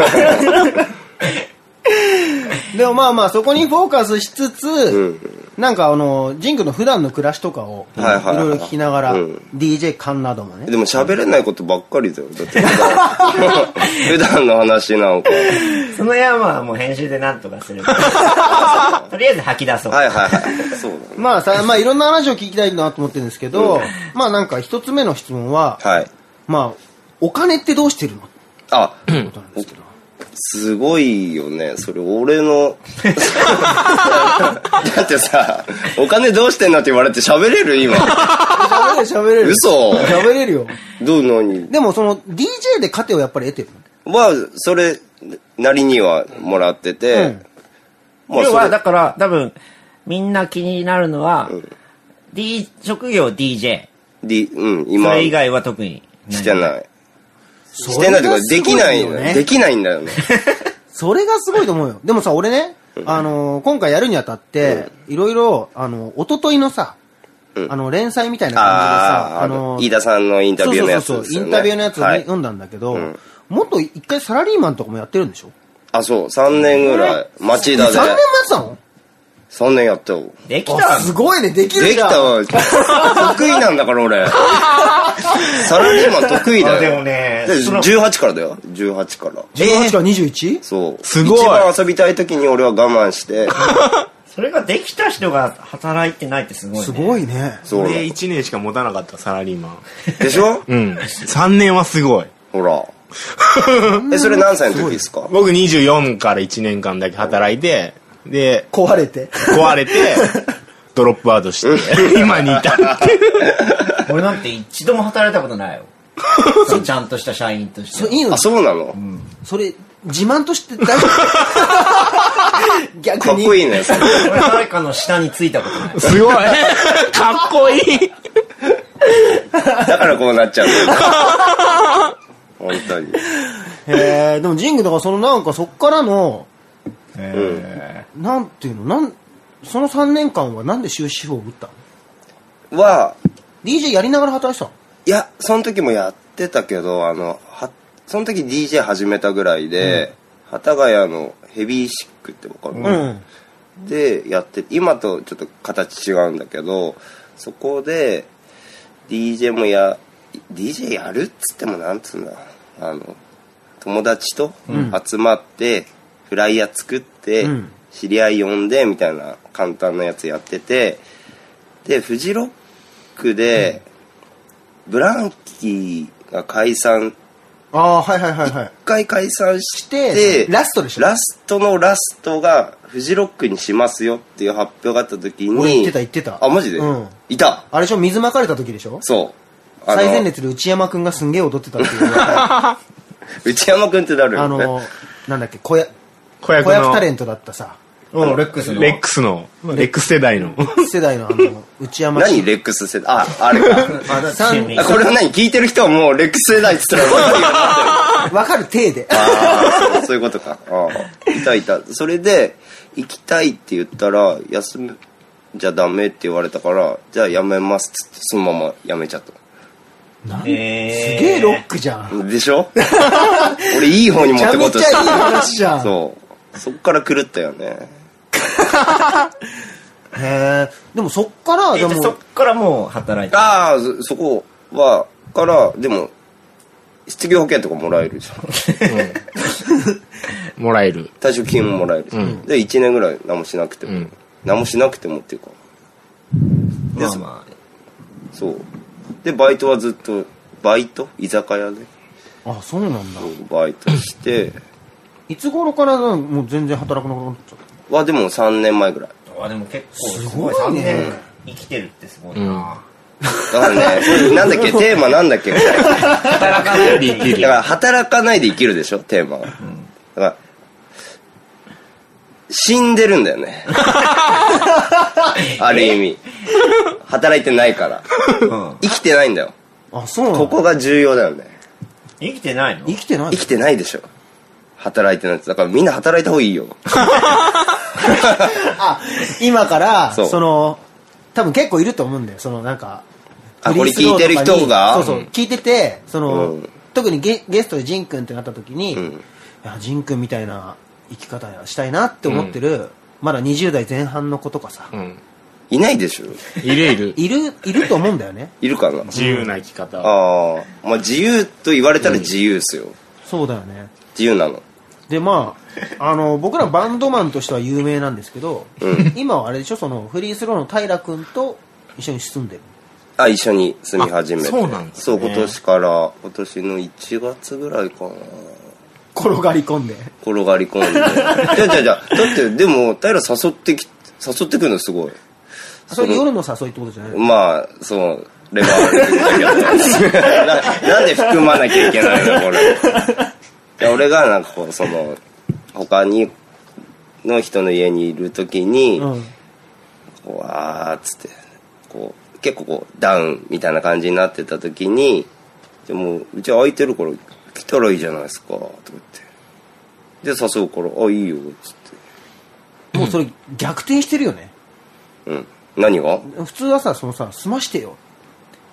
でもまあまあ、そこにフォーカスしつつ、なんかあの、ジンクの普段の暮らしとかを、いはいはいはいろいろ聞きながら、うん DJ 感などもね。でも喋れないことばっかりだよ。だって *laughs* 普段普段の話なんか。ーその辺はまあもう編集でなんとかする。とりあえず吐き出そう。はいはいはい。そうだね。まあさ、まあいろんな話を聞きたいなと思ってるんですけど、まあなんか一つ目の質問は、はい。まあ、お金ってどうしてるのってあ、ことなんですけど。すごいよね。それ俺 *laughs* の。だってさ、お金どうしてんのって言われて喋れる今。喋れる *laughs* 嘘喋れる。喋れるよ。どうのに。でもその DJ で糧をやっぱり得てるのは、それなりにはもらってて。まあ要そはれだから多分みんな気になるのは、D、職業 DJ で、うん、そ今。れ以外は特にしてない。してれながいというか、できないすのごいよねよ。できないんだ *laughs* よね。それがすごいと思うよ。でもさ、俺ね、あのー今回やるにあたって、いろいろ、あの、おとといのさ、うんあの、連載みたいな感じであさ、あ、あのの、飯田さんのインタビューのやつそうでそうすそうよイね。ンタビューのやつをね、はい読んだんだけど、うんもっと一回サラリーマンとかもやってるんでしょあ、そう、3年ぐらい、町田3で年。待ってたの3年やったよ。できたあすごいね、できるできじゃん。たわ。得意なんだから俺。サラリーマン得意だよ。あでもねでその18からだよ。18から。 18から 21? そう。すごい一番遊びたい時に俺は我慢して、それができた人が働いてないってすごい、ね。すごいね。そうなの俺1年しか持たなかったサラリーマン。でしょうん。3年はすごい。ほら。え、それ何歳の時ですか僕24から1年間だけ働いて、で、壊れて。壊れて、 *laughs* ドロップアウトして、 *laughs* 今に至るっていう。俺なんて一度も働いたことないよ。そうちゃんとした社員としてそは。いいのあ、そうなのそれ、自慢として大丈 *laughs* 夫逆かっに。こいいね。それ俺誰かの下についたことない。すごい。かっこいい。だからこうなっちゃうんだよ。 *laughs* 本当に。へえ、でもジングだからそのなんかそっからの、なんていうの、なん、その3年間はなんで終止符を打ったのは、 ?DJ やりながら働いてたのいや、その時もやってたけど、あの、は、その時 DJ 始めたぐらいで、幡ヶ谷のヘビーシックってわかる、うん。で、やって、今とちょっと形違うんだけど、そこで、DJ もや、DJ やるっつってもなんつうんだ、あの、友達と集まって、フライヤー作って、うん知り合い呼んで、みたいな簡単なやつやってて、で、フジロックで、ブランキーが解散、ああ、はいはいはいはい一。回解散ししてて、ラストでしょラストのラストが、フジロックにしますよっていう発表があった時に、俺言ってた言ってたあ、マジで、うんいたあれでしょ、水まかれた時でしょそう。あの最前列で内山くんがすんげえ踊ってたって *laughs* いう。あ内山くんってなるよね。の、なんだっけ、小屋、子小役役のタレントだったさ、うん、レックスの。レックスの、レックス世代の。世代のあの、内山何レックス世代あ、あれか。 *laughs* まださんチームにあこれは何聞いてる人はもうレックス世代っつったら分かるよわかる体で。あーそうそういうことか。あーいたいた。それで、行きたいって言ったら、休むじゃダメって言われたから、じゃあやめますっつって、そのままやめちゃった。なんすえーげえロックじゃん。でしょ *laughs* 俺いい方に持めちっゃてこめうとちゃしいいて話じゃん。そう。そっから狂ったよね。へえ。でもそっから、えでじゃあそっも、からもう働いて。ああ、そそこは、から、でも、失業保険とかもらえるじゃん。もらえる。退職金ももらえるじゃん、で、1年ぐらい何もしなくても。うん何もしなくてもっていうか、まあまあそう。で、バイトはずっと、バイト居酒屋で、あ、そうなんだそ。うバイトして、いつ頃からなもう全然働くなくなっちゃっは、でも3年前ぐらい。あでも結構すすごごいいね3年生きてるってすごいな、だからね、 *laughs* なんだっけ、テーマなんだっけみたいな。働かないで生きだから働かないで生きるでしょテーマは、だから死んでるんだよね *laughs* ある意味働いてないからる、うん、生きてないんだよた。あ、そうなんだ。ここが重要だよね生きてないの生きてない生きてないでしょ働いてないってだからみんな働いた方がいいよあ、今から、そうその、多分結構いると思うんだよ。そのなんか、あフリースローとかにこれ聞いてる人が、そうそううん聞いてて、その、うん特にゲゲストでジンくんってなった時に、うんいや、ジンくんみたいな生き方したいなって思ってる、まだ20代前半の子とかさ、うん。いないでしょいるいる。いる、いると思うんだよね。いるかな自由な生き方。ああまあ自由と言われたら自由っすよ、そうだよね。自由なのでまあ、あの僕らバンドマンとしては有名なんですけど、うん今はあれでしょそのフリースローの平君と一緒に住んでるあ一緒に住み始めてあそうなんですねそう今年から今年の1月ぐらいかな転がり込んで転がり込んで。 *laughs* じゃじゃじゃだって、でも、平誘ってき、誘ってくるのすごい。それ夜の誘いってことじゃないのまあ、そう、レバールだけどななんで *laughs* 含まなきゃいけないの、これ。で俺がなんかこう、その、他に、の人の家にいるときに、うんこうわーっつって、こう、結構こう、ダウンみたいな感じになってたときに、でもう、うち空いてるから来たらいいじゃないですか、とか言って。で、誘うから、あ、いいよ、つって。もうそれ逆転してるよねうん。何が *laughs* 普通はさそのさ済ましてよ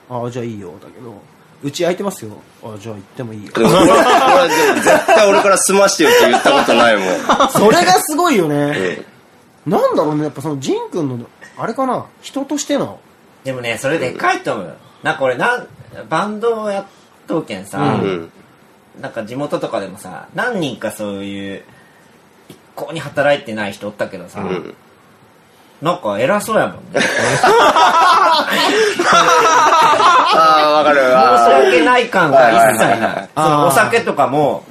ああじゃあいいよだけどうち空いてますよ。あ、じゃあ行って *laughs* もいいよで。も俺はでも絶対俺から済ましてよって言ったことないもん。それがすごいよね。えなんだろうね、やっぱそのジン君の、あれかな、人としての。でもね、それでかいと思うよ。なんか俺、なん、バンドをやっとうけんさ、えうん。なんか地元とかでもさ、何人かそういう、一向に働いてない人おったけどさ、んなんか偉そうやもんね。ああ、わかる申しわ。訳ない感が一切はいはいはいはないい。そのお酒とかも、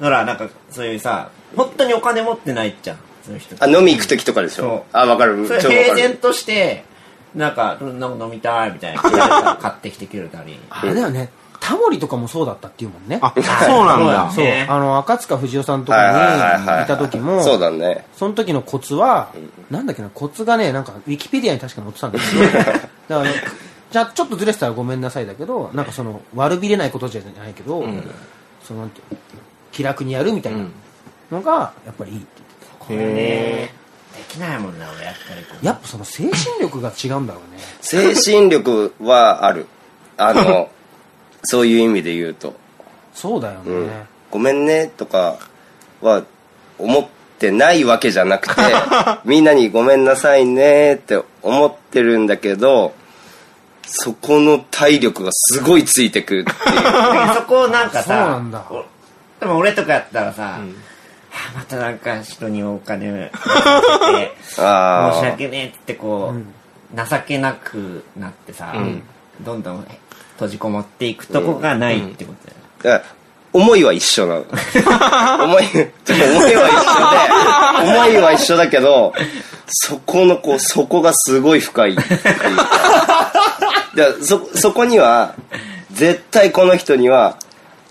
ほら、なんかそういうさ、本当にお金持ってないじゃん、その人ってあ、飲み行くときとかでしょ。あ、わかる。そ超れわか平然る。として、なんか、なんか飲みたいみたいな。買ってきてくれたり。あれだよね、タモリとかもそうだったっていうもんね。あ、そうなんだ。そう、ねあの、赤塚不二夫さんとはいはいかはいはにい。いた時も、そうだね。その時のコツは、なんだっけな、コツがね、なんか、ウィキペディアに確か載ってたんだけど、だから、じゃあちょっとずれてたらごめんなさいだけど、なんかその、悪びれないことじゃないけど、その、なんていうの気楽にやるみたいなのが、やっぱりいいって言ってこれね、できないもんな、俺やったりこうた。やっぱその精神力が違うんだろうね。精神力はある。あ *laughs* の、そういう意味で言うと。そうだよね。うんごめんねとかは思ってないわけじゃな *laughs* くてみんなにごめんなさいねって思ってるんだけどそこの体力がすごいついてくるっていうだからそこをなんかそうなさんだ、おでも俺とかやったらさ、はあまたなんか人にお金あー申し訳ねえっつってこう、情けなくなってさ、どんどん閉じこもっていくとこがないってことだよ。だから思いは一緒なの思いちょっと思いは一緒で思いは一緒だけどそこのこうそこがすごい深いっていうかだからそそこには絶対この人には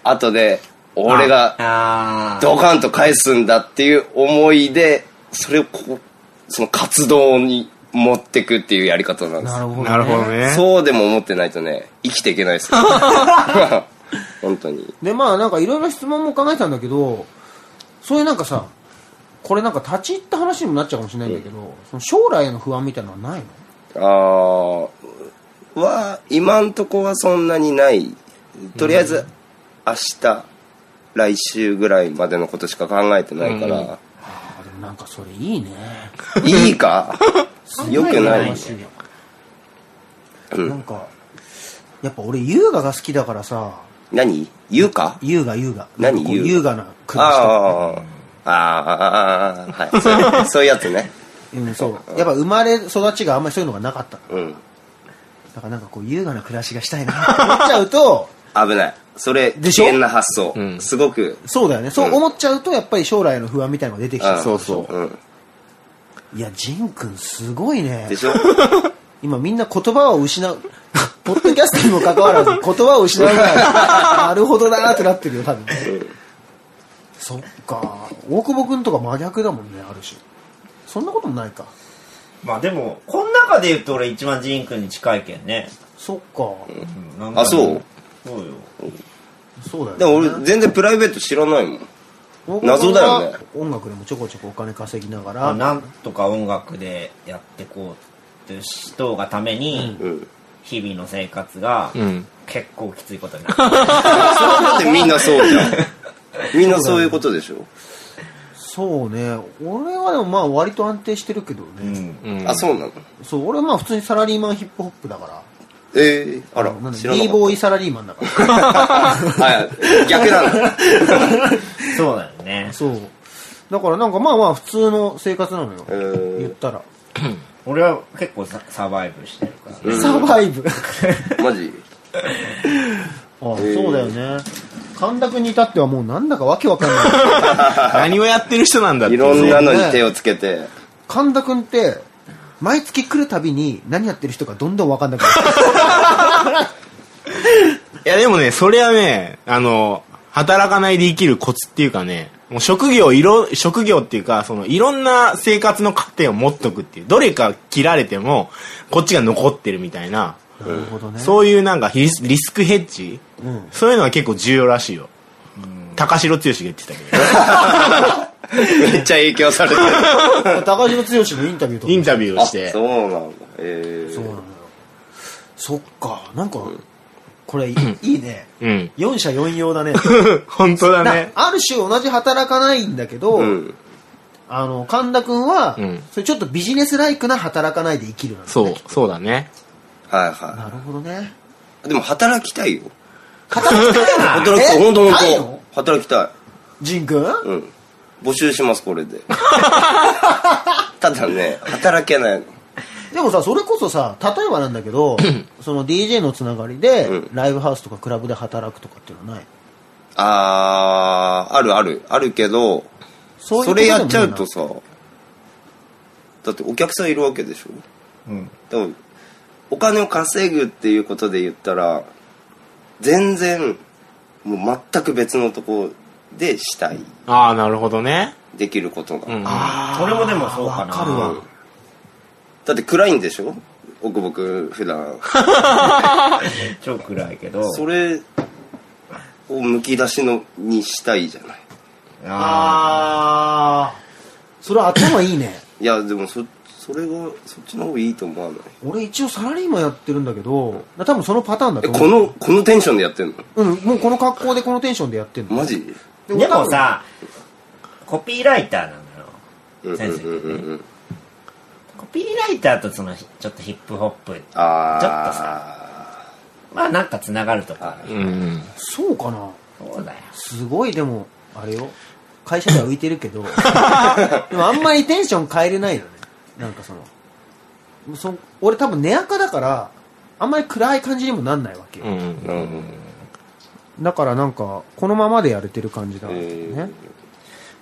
後で俺があドカンと返すんだっていう思いでそれをこうその活動に持ってくっていうやり方なんでなするほど、ね。なるほどね。そうでも思ってないとね生きていけないで *laughs* すよ本当にで、まあなんかいろいろ質問も考えてたんだけど、そういうなんかさ、これなんか立ち入った話にもなっちゃうかもしれないんだけど、その将来への不安みたいなのはないのあーは今んとこはそんなにないとりあえず明日来週ぐらいまでのことしか考えてないから、あでもなんかそれいいねい *laughs* いかよくないすごい羨ましいなんかやっぱ俺優雅が好きだからさ何言うか優雅優雅何なんかこう優優雅雅な暮らしとあーあーあーあーあーはいそうそういうやつねかうんそうやっぱ生まれ育ちがあんまりそういうのがなかったうんだからなんかこう優雅な暮らしがしたいなって思っちゃう *laughs* と危ないそれ危でしょ険な発想、すごくそうだよねそう思っちゃうとやっぱり将来の不安みたいのが出てきちゃうそうそううん、いやジン君すごいねでしょ今みんな言葉を失うポッドキャストにも関わらず言葉を失うぐらいなるほどなーってなってるよ多分そっか大久保君とか真逆だもんねある種そんなこともないかまあでも、この中で言うと俺一番ジーン君に近いけんね。そっかうんなんかあそうそうよ。そうだよねでも俺全然プライベート知らないもん大久保君は謎だよね音楽でもちょこちょこお金稼ぎながまあらなんとか音楽でやってこうって人がために、うん日々の生活がうん。結構きついことにな *laughs* る。だってみんなそうじゃんみんなそういうことでしょ、そうね俺はでもまあ割と安定してるけどうね、ん。うんあそうなのそう俺はまあ普通にサラリーマンヒップホップだからええあらなんで知らな b かっボーイサラリーマンだからたはい逆なのそうだよね。そう。だからなんかまあまあ普通の生活なのよ。へー言ったら。俺は結構ササバイブしてるからね。サバイブ。 *laughs* あマジそうだよね。神田君に至ってはもうなんだかわけわかんない。何をやってる人なんだっていいう。ろんなのに手をつけて神田君って、毎月来るたびに何やってる人かどんどんわかんなくなる。いやでもね、それはね、あの、働かないで生きるコツっていうかね、もう職業いろ、職業っていうか、そのいろんな生活の過程を持っとくっていう、どれか切られても、こっちが残ってるみたいな、なるほどね。そういうなんかリスリスクヘッジ、うんそういうのは結構重要らしいよ。高城剛が言ってたけど。めっちゃ影響されてる高城剛のインタビューとか。インタ *laughs* ビューをあしてそうなんだええそうなのよ。そっか。なんか、これ、いいね。うん。 *laughs* 4社4用だね。本当だ *laughs* なね。ある種同じ働かないんだけど、うん。あの、神田くんは、うんそれちょっとビジネスライクな働かないで生きるなんだそう、そうだね。はいはなるほどね。い。でも働きたいよ。働きたいな。働きたい。え本当ない本の当。働きたい。ジンくんうん。募集します、これ *laughs* で。ただね、働けない。でもさ、それこそさ、例えばなんだけど、その DJ のつながりで、うんライブハウスとかクラブで働くとかっていうのはない。あー、あるある。あるけど、そいそううことれでもやいいっなちゃうとさ、だってお客さんいるわけでしょ。うん。でも、お金を稼ぐっていうことで言ったら、全然、もう全く別のとこでしたい。ああ、なるほどね。できることが。うん。俺もでもそうかわなかるわ。だって暗いんでしょ奥久保君普段。超暗いけどそれをむき出しのにしたいじゃない。あー。それ頭いいね。いや、でもそ、それが、そっちの方がいいと思わない。俺一応サラリーマンやってるんだけど、多分そのパターンだえ、とこ思う。の、このテンションでやってんのうん、もうこの格好でこのテンションでやってんの。マジでも、さコピーライターなんだようんうんうんうんうん。コピーライターとそのひちょっとヒップホップあー。ちょっとまあなんかつながるとかうん。そうかな。そうだよすごいでも、あれよ。会社では浮いてる *laughs* けど、でもあんまりテンション変えれないよね。なんかその、もうそ俺多分寝垢だから、あんまり暗い感じにもなんないわけよ。うん。だからなんか、このままでやれてる感じだ、ねえ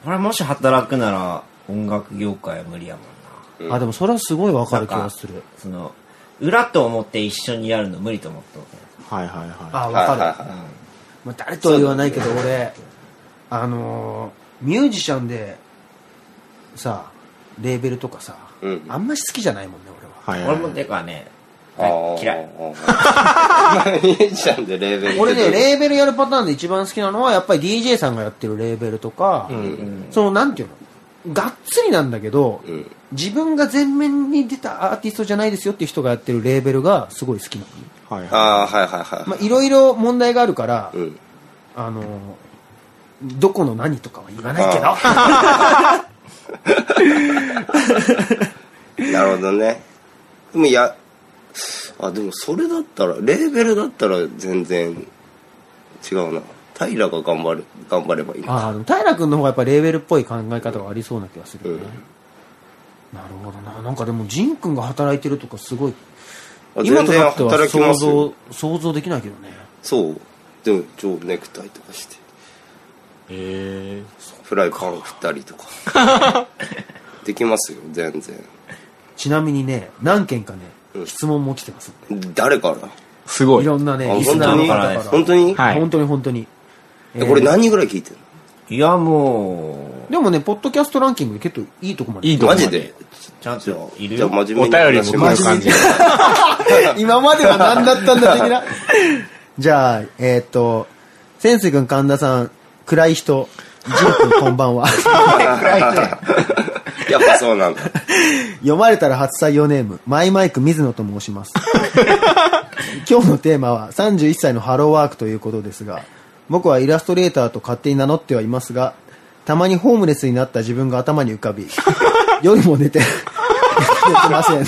俺もし働くなら音楽業界は無理やもんうなんあ、でもそれはすごいわかる気なんがかする。その裏と思って一緒にやるの無理と思ったわはいはいは。あ、わはいかはいる。はまあ、誰とは言わないけど俺あのーミュージシャンでさレーベルとかさ、うんあんまり好きじゃないもんね俺はいはいはけい。俺もてかねい。あー嫌い。ミュージシャンでレーベル。俺ね、レーベルやるパターンで一番好きなのはやっぱり DJ さんがやってるレーベルとか、うん。そのなんていうのがっつりなんだけど、うん。自分が前面に出たアーティストじゃないですよっていう人がやってるレーベルがすごい好きなのね、はいはあー、はいはいはい。まあいろいろ問題があるから、うん。あのーどこの何とかは言わないけどあなるほどね。でもや、あ、でもそれだったら、レーベルだったら全然違うな。平が頑張る、頑張ればいい *laughs* の。ああ、でも平君の方がやっぱレーベルっぽい考え方がありそうな気がするよね。なるほどな。なんかでも、仁君が働いてるとかすごい、あ今全と然なっては働き想ますよ。像、想像できないけどね。そう。でも、超ネクタイとかして、い。へえ。フライパン振ったりとか。 *laughs* できますよ、全然。ちなみにね、何件かねう、ん質問も来てますんで。誰からすごいい。ろんなね、あリスナーの方から。本当に、はい本当に本当に。えこれ何人ぐらい聞いてるいやもでもね、ポッドキャストランキングで結構いいとこまで。いいのとこマまジでうちゃんじゃあといるじゃあよ真お面便目にり話もし来まるす感 *laughs* じ。今までは何だったんだ的な。じゃあ、えーっ、と、潜水君神田さん、暗い人、仁君こんばんは。 *laughs* やっぱそうなんだ。読まれたら初採用ネーム、マイマイク水野と申します。 *laughs* 今日のテーマは31歳のハローワークということですが、僕はイラストレーターと勝手に名乗ってはいますが、たまにホームレスになった自分が頭に浮かび、 *laughs* 夜も寝て、寝てません。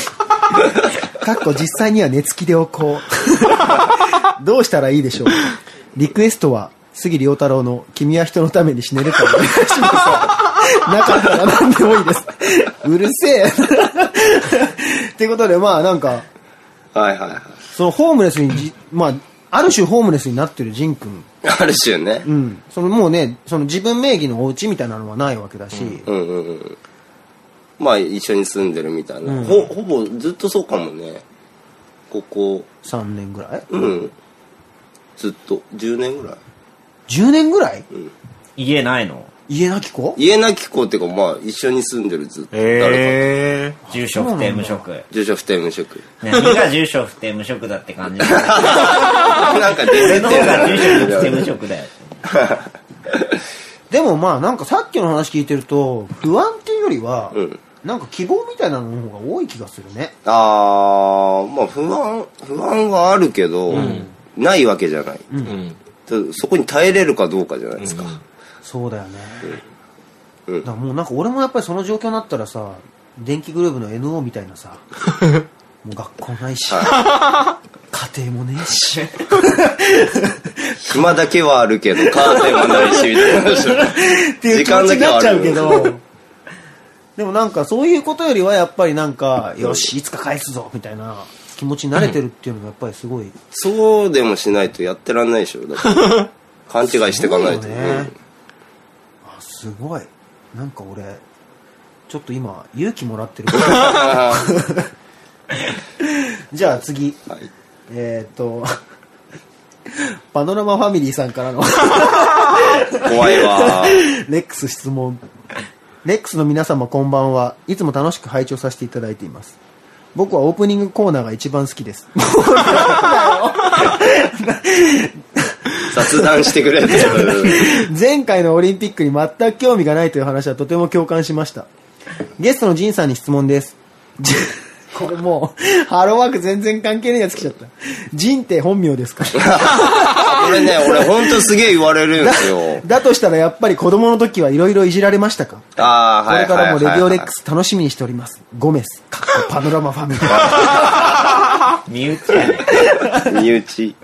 かっこ実際には寝つきでおこう。どうしたらいいでしょうリクエストは、杉良太郎の君は人のために死ねるかお願いします。なかったら何でもいいです。うるせえ。ってことで、まあなんか、はいはいはい。そのホームレスにじ、まあ、ある種ホームレスになってる仁君。ある種ね。うん。そのもうね、その自分名義のお家みたいなのはないわけだし、うんうんうんまあ一緒に住んでるみたいな、ほほぼずっとそうかもねここ3年ぐらいうんずっと10年ぐらい ?10 年ぐらい家ないの家なき子家なき子っていうかまあ一緒に住んでるずっと誰かへえ。住所不定無職ね住所不定無職みんな住所不定無職だって感じだよなんか出俺れ *laughs* の方が住所て不定る無な職だよでもまあなんかさっきの話聞いてると、不安っていうよりは、うんなんか希望みたいなのの方が多い気がするね。あーまあ不安不安はあるけど、ないわけじゃない、うん。とそこに耐えれるかどうかじゃないですか、そうだよね。うんだからもうなんか俺もやっぱりその状況になったらさ、電気グループの NO みたいな *laughs* さ、もう学校ないし、家庭もねえし、暇だけはあるけ *laughs* どカーテンもないしみたいなっていう気持ちになっちゃうけど、でもなんかそういうことよりはやっぱりなんか、よし、いつか返すぞみたいな気持ちに慣れてるっていうのがやっぱりすごい、そうでもしないとやってらんないでしょだから勘違いしていかないとそうねよあ、すごい。なんか俺、ちょっと今、勇気もらってる。 *laughs* じゃあ次。はいえーっと、パノラマファミリーさん *laughs* からの怖いわレックス質問。レックスの皆様こんばんは。いつも楽しく拝聴させていただいています。僕はオープニングコーナーが一番好きです。雑談してくれって *laughs* 前回のオリンピックに全く興味がないという話はとても共感しました。ゲストのジンさんに質問です。 *laughs* ジンこれもう、ハローワーク全然関係ないやつ来ちゃった。ジンって本名です *laughs* かこれね俺ほんとすげえ言われるんです *laughs* よだとしたらやっぱり子供の時はいろいろいじられましたかああこはいれかはいはいらもレディオレッはいクス楽しみにしております。ゴメス、かっこパノラマファミリー。身内やね身内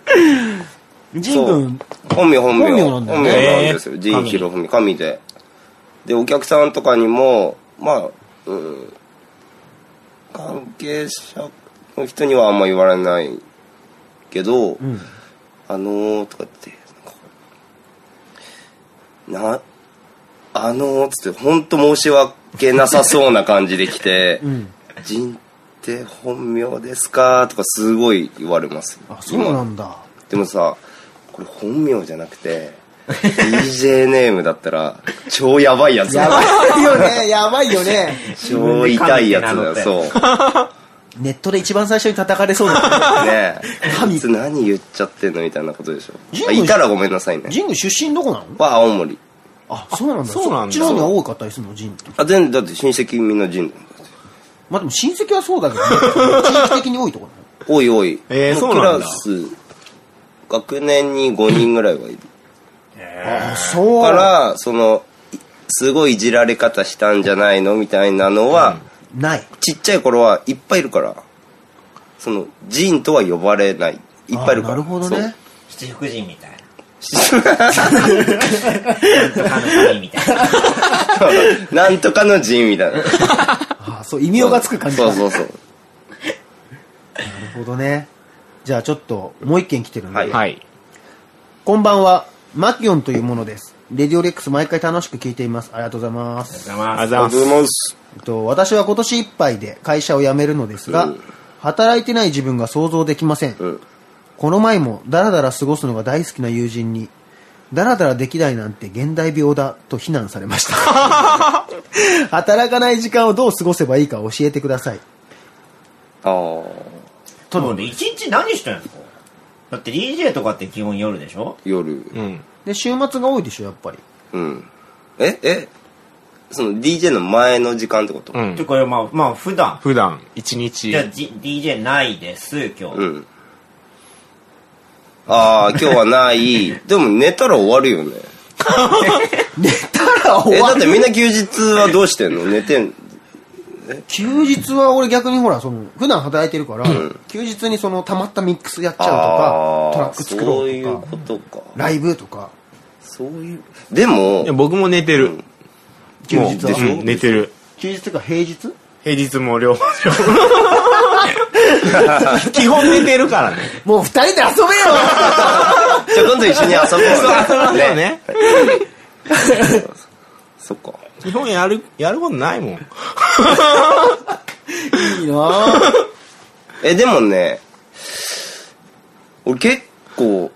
ジン君、本名本名本名なんだよ本ね名なんですよ仁弘文神ででお客さんとかにもまあ、うん、関係者の人にはあんま言われないけど、んあのー、とかってなんかなあのー、つって本当申し訳なさそうな感じで *laughs* 来て「ん仁って本名ですか?」とかすごい言われますあ、そうなんだ。でもさこれ本名じゃなくて DJ ネームだったら超やばいやつやだばいよ *laughs* ね、やばいよね。超痛いやつだ自分よで噛そうネットで一番最初に叩かれそうだ、ねえ神いつ何言っちゃってんのみたいなことでしょジムあいたらごめんなさいねジン君出身どこなのは青森あ、そうなんだ。そうなんだっちの方が多かったりするの、ジンって。あ全だって親戚みんな人まあでも親戚はそうだけど、ね、*laughs* 地域的に多いところおいおい、えーもそうなんだクラス学年に5人ぐらいはいるだあ、そうからそのいすごいいじられ方したんじゃないのみたいなのは、ない。ちっちゃい頃はいっぱいいるからそのジーンとは呼ばれないいっぱいいるからあなるほどね。七福神みたいななんとかの神みたいなそう *laughs* なんとかのジーンみたいなあそう、異名がつく感じだそうなるそうそうほどね。じゃあちょっと、もう一件来てるんで。はいはい。こんばんは、マキオンというものです。レディオレックス毎回楽しく聞いています。ありがとうございます。ざまありがとうございます。ますえっと、私は今年いっぱいで会社を辞めるのですが、うん働いてない自分が想像できません。うんこの前もダラダラ過ごすのが大好きな友人に、ダラダラできないなんて現代病だと非難されました。働かない時間をどう過ごせばいいか教えてください。ああ多分ね一日何してんすかだって DJ とかって基本夜でしょ夜うん。で、週末が多いでしょ、やっぱり。うんええその DJ の前の時間ってことうんていうかまあまあ普段普段、一日じゃあ、じ DJ ないです今日、うんああ今日はない *laughs* でも寝たら終わるよね寝たら終えわだっる。てみんな休日はどうしてんの寝てん休日は俺逆にほら、その、普段働いてるから、休日にその、溜まったミックスやっちゃうとかあ、ートラック作ろそうういとうか、ことかライブとか、そういうでもいや僕も寝てる。休もう日はうん寝てる。休日というか平日平日も両方。基本寝てるからね。もう二人で遊べよじゃあ今度一緒に遊ぼうそうね。そっか基本やる、やることないもん。いいなぁえでもね俺結構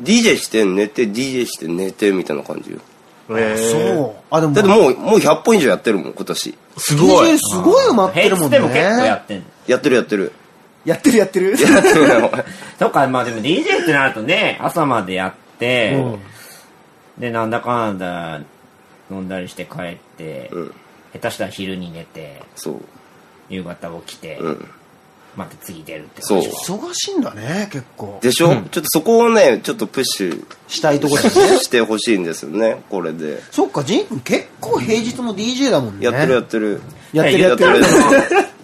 DJ して寝て DJ して寝てみたいな感じよそう。あ、でも、だってもうもう100本以上やってるもん今年すごい DJ。すごい埋まって平るも日んでも結構やね。ってんのやってるやってるやってるやってる。やってる *laughs* よそっか、まあでも DJ ってなるとね、朝までやって、で、なんだかんだ飲んだりして帰って、うん下手したら昼に寝て、そう夕方起きて、うんまた次出るってそう。忙しいんだね、結構。でしょ、ちょっとそこをね、ちょっとプッシュしたいところですね。してほしいんですよね、これで。 *laughs* そっか、ジン君結構平日も DJ だもんね。やってるやってる。やってるやってる。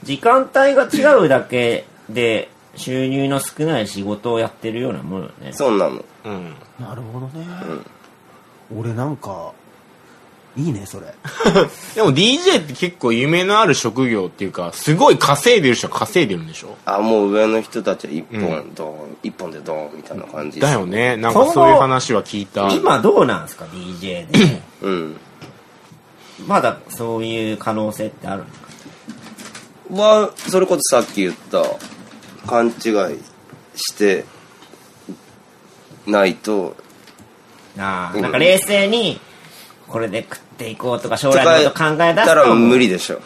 時間帯が違うだけで収入の少ない仕事をやってるようなものよねそうなの。うん。なるほどね。俺なんか、いいね、それ。でも DJ って結構夢のある職業っていうか、すごい稼いでる人は稼いでるんでしょあ、もう上の人たちは一本、ドン、一本でドンみたいな感じでだすよ。ね。なんかそういう話は聞いた。今どうなんですか DJ でうん。まだそういう可能性ってあるのは、それこそさっき言った、勘違いして、ないと、なあうんなんか冷静にこれで食っていこうとか将と来のことか考え出たすとら無理でしょ。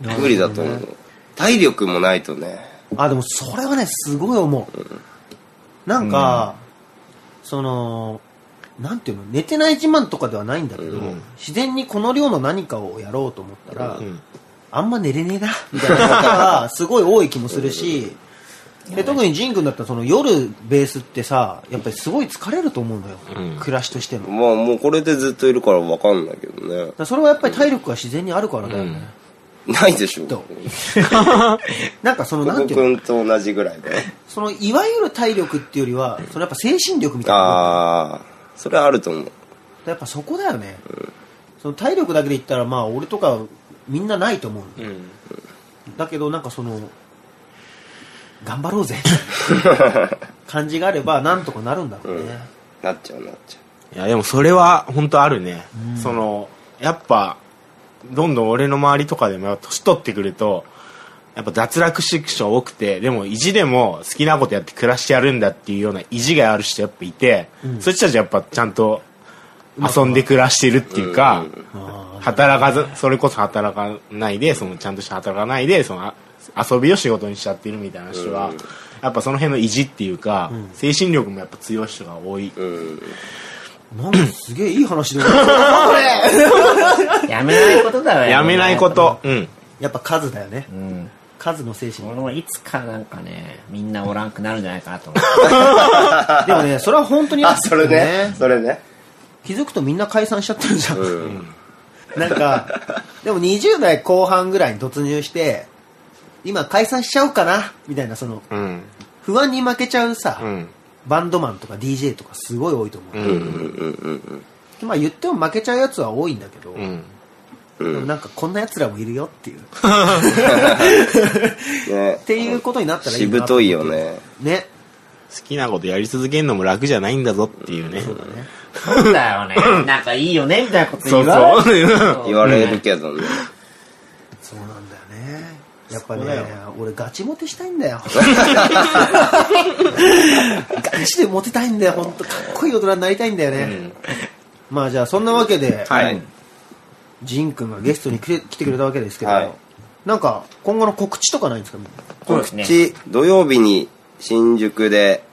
無理だと思う。体力もないとね。あ、でもそれはね、すごい思う。なんか、その、なんていうの、寝てない自慢とかではないんだけど、うん自然にこの量の何かをやろうと思ったら、うんあんま寝れねえな、みたいな方 *laughs* がすごい多い気もするし、で特にジン君だったらその夜ベースってさ、やっぱりすごい疲れると思うのよ、うん暮らしとしても。だかまあもうこれでずっといるからわかんないけどね。らそれはやっぱり体力が自然にあるからだよね。ないでしょ。どこう *laughs* なんかその、なんこていうのくんと同じぐらいで。その、いわゆる体力っていうよりは、そのやっぱ精神力みたいなもん。ああ、それはあると思う。やっぱそこだよね、その体力だけで言ったらまあ俺とかみんなないと思う、うん。だけどなんかその頑張ろうぜ感じがあればなんとかなるんだろうね、なっちゃうなっちゃいや、でもそれは本当あるね。その、やっぱ、どんどん俺の周りとかでも、年取ってくると、やっぱ脱落していく人多くて、でも意地でも好きなことやって暮らしてやるんだっていうような意地がある人やっぱいて、そういう人たちはやっぱちゃんと遊んで暮らしてるっていうか、あ働かず、それこそ働かないで、そのちゃんとして働かないで、そのあ遊びを仕事にしちゃってるみたいな人は、やっぱその辺の意地っていうか、精神力もやっぱ強い人が多い。う。うん。あなんかすげえいい話だなこれやめないことだよねやめないこと。うん。やっぱ数だよね、うん数の精神俺もいつかなんかねみんなおらんくなるんじゃないかなと思でもねそれは本当にあ、それね。それね。気づくとみんな解散しちゃってるじゃん、なんかでも20代後半ぐらいに突入して今解散しちゃおうかなみたいなそのうん。不安に負けちゃうさ、うん。バンドマンとか DJ とかすごい多いと思う、うん。まあ言っても負けちゃうやつは多いんだけど、うん。でもなんかこんなやつらもいるよっていうっ *laughs* ね。ていうことになったらいいしなぶと思とういよね。ね好きなことやり続けるのも楽じゃないんだぞっていうね。 *laughs* うんだよねなんかいいよねみたいなことそう言われるそう。言われるけどね。そうなんだよねやっぱね俺ガチモテしたいんだよガチでモテたいんだよ本当かっこいい大人になりたいんだよね、まあじゃあそんなわけで、はい。ジンくんがゲストに来て来てくれたわけですけど、はいなんか今後の告知とかないんですかそうですねち、土曜日に新宿で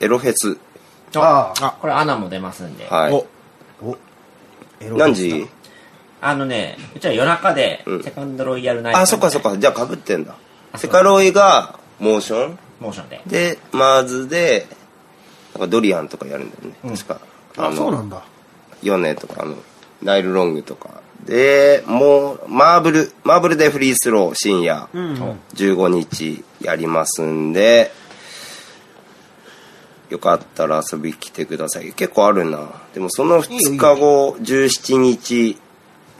エロフェス。ああこれアナも出ますんではい。おエロ何ゲス時トあのねうちは夜中でうんセカンドロイヤルナイトあ、そっかそっか。じゃあ被ってんだ。セカロイがモーションモーションでで、マーズで、なんかドリアンとかやるんだよね。確か。あのそうなんだヨネとか、あの、ナイルロングとか。で、もう、マーブル、マーブルでフリースロー深夜、ん15日やりますんで、よかったら遊び来てください。結構あるな。でもそいよのい2い日よ後、17日、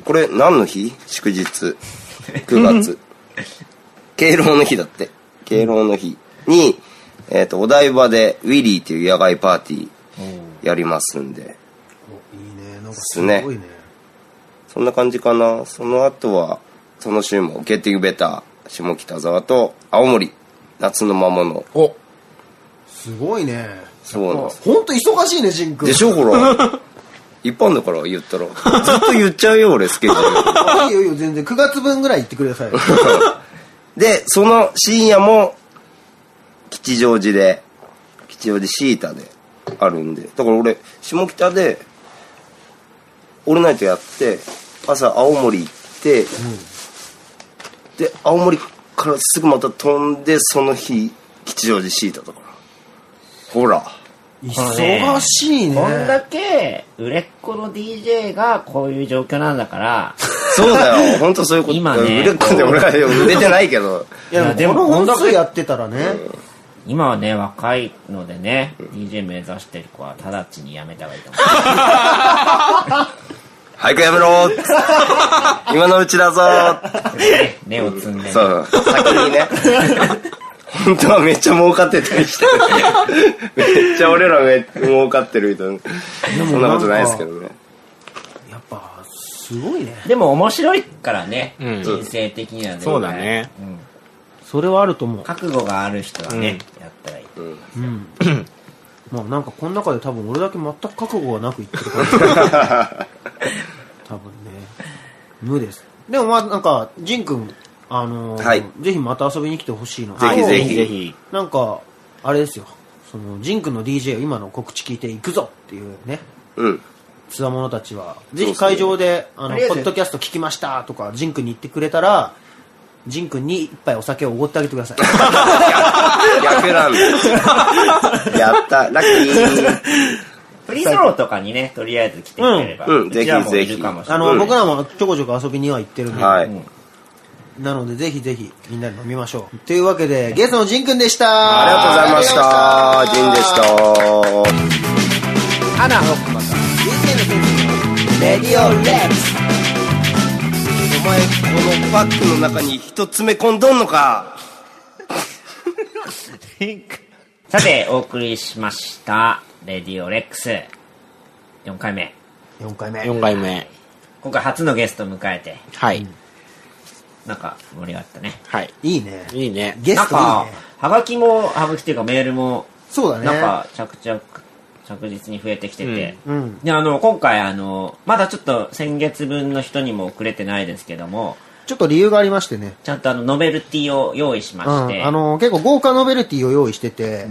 これ何の日祝日。9月。敬老の日だって。敬老の日に、えっ、と、お台場でウィリーっていう野外パーティーやりますんで。おいいねなんかすすごいねねそんな感じかな。その後は、その週も、ゲッティングベター、下北沢と、青森、夏の魔物。お、すごいねそうなんです。本当忙しいねジンくんでしょ、ほら。一般だから言っ *laughs* たら。ずっと言っちゃうよ、俺、スケジュール。いいよいいよ全然9月分ぐらい言ってくださいで、その深夜も、吉祥寺で、吉祥寺シータであるんで。だから俺、下北で、オールナイトやって、朝青森行って、で、青森からすぐまた飛んで、その日、吉祥寺シータだから。ほら。忙しいね。こんだけ売れっ子の DJ がこういう状況なんだからそうだ *laughs* よ、本当そういうこと。今ね売れっ子で俺ら売れてないけ *laughs* ど。いや、でも、この本数やってたらね。今はね若いのでね DJ 目指してる子は直ちにやめた方がいいと思早くやめ *laughs* ろ今のうちだぞう、ね、根を積んでねそう、先にね。本当はめっちゃ儲かってたりして。めっちゃ俺らめ儲かってるみたいな。そんなことないですけどね。やっぱ、すごいね。でも面白いからね、うん人生的にはねそうだねうんそれはあると思う。覚悟がある人はね、やったらいいうん。まあなんかこの中で多分俺だけ全く覚悟がなく言ってる *laughs* から。多分ね。無です。でもまあなんか、ジン君、あのーはいぜひまた遊びに来てほしいな。ぜひぜ *laughs* ひぜひなんか、あれですよ。その、ジン君の DJ を今の告知聞いていくぞっていうね。うん。つわものたちは、ぜひ会場で、あの、ありがポとうッドキャスト聞きましたとか、ジン君に言ってくれたら、ジン君に一杯お酒をおごってあげてください。逆なんだ。やった、ラッキー。フリースローとかにねとりあえず来てくれれば、うんうんうちらもぜひいるかもしれあないの、うん僕らもちょこちょこ遊びには行ってるんで、はうい。んなのでぜひぜひみんなで飲みましょう。というわけで、ゲストのジンくんでした。ありがとうございました。ジンでした。アナ・ホックマンレディオレッツお前このバッグの中に人詰め込んどんのかさてお送りしました「レディオレックス」4回目 !4 回目。 4回目今回初のゲストを迎えてはいなんか盛り上がったねはいいいね。いいねゲなんストいいかね。はがきもはがきっていうかメールもそうだね。なんか着々着実に増えてきてて、うん。であの今回あのまだちょっと先月分の人にも送れてないですけどもちょっと理由がありましてね。ちゃんとあのノベルティを用意しまうして、ん。あの、結構豪華ノベルティを用意してて、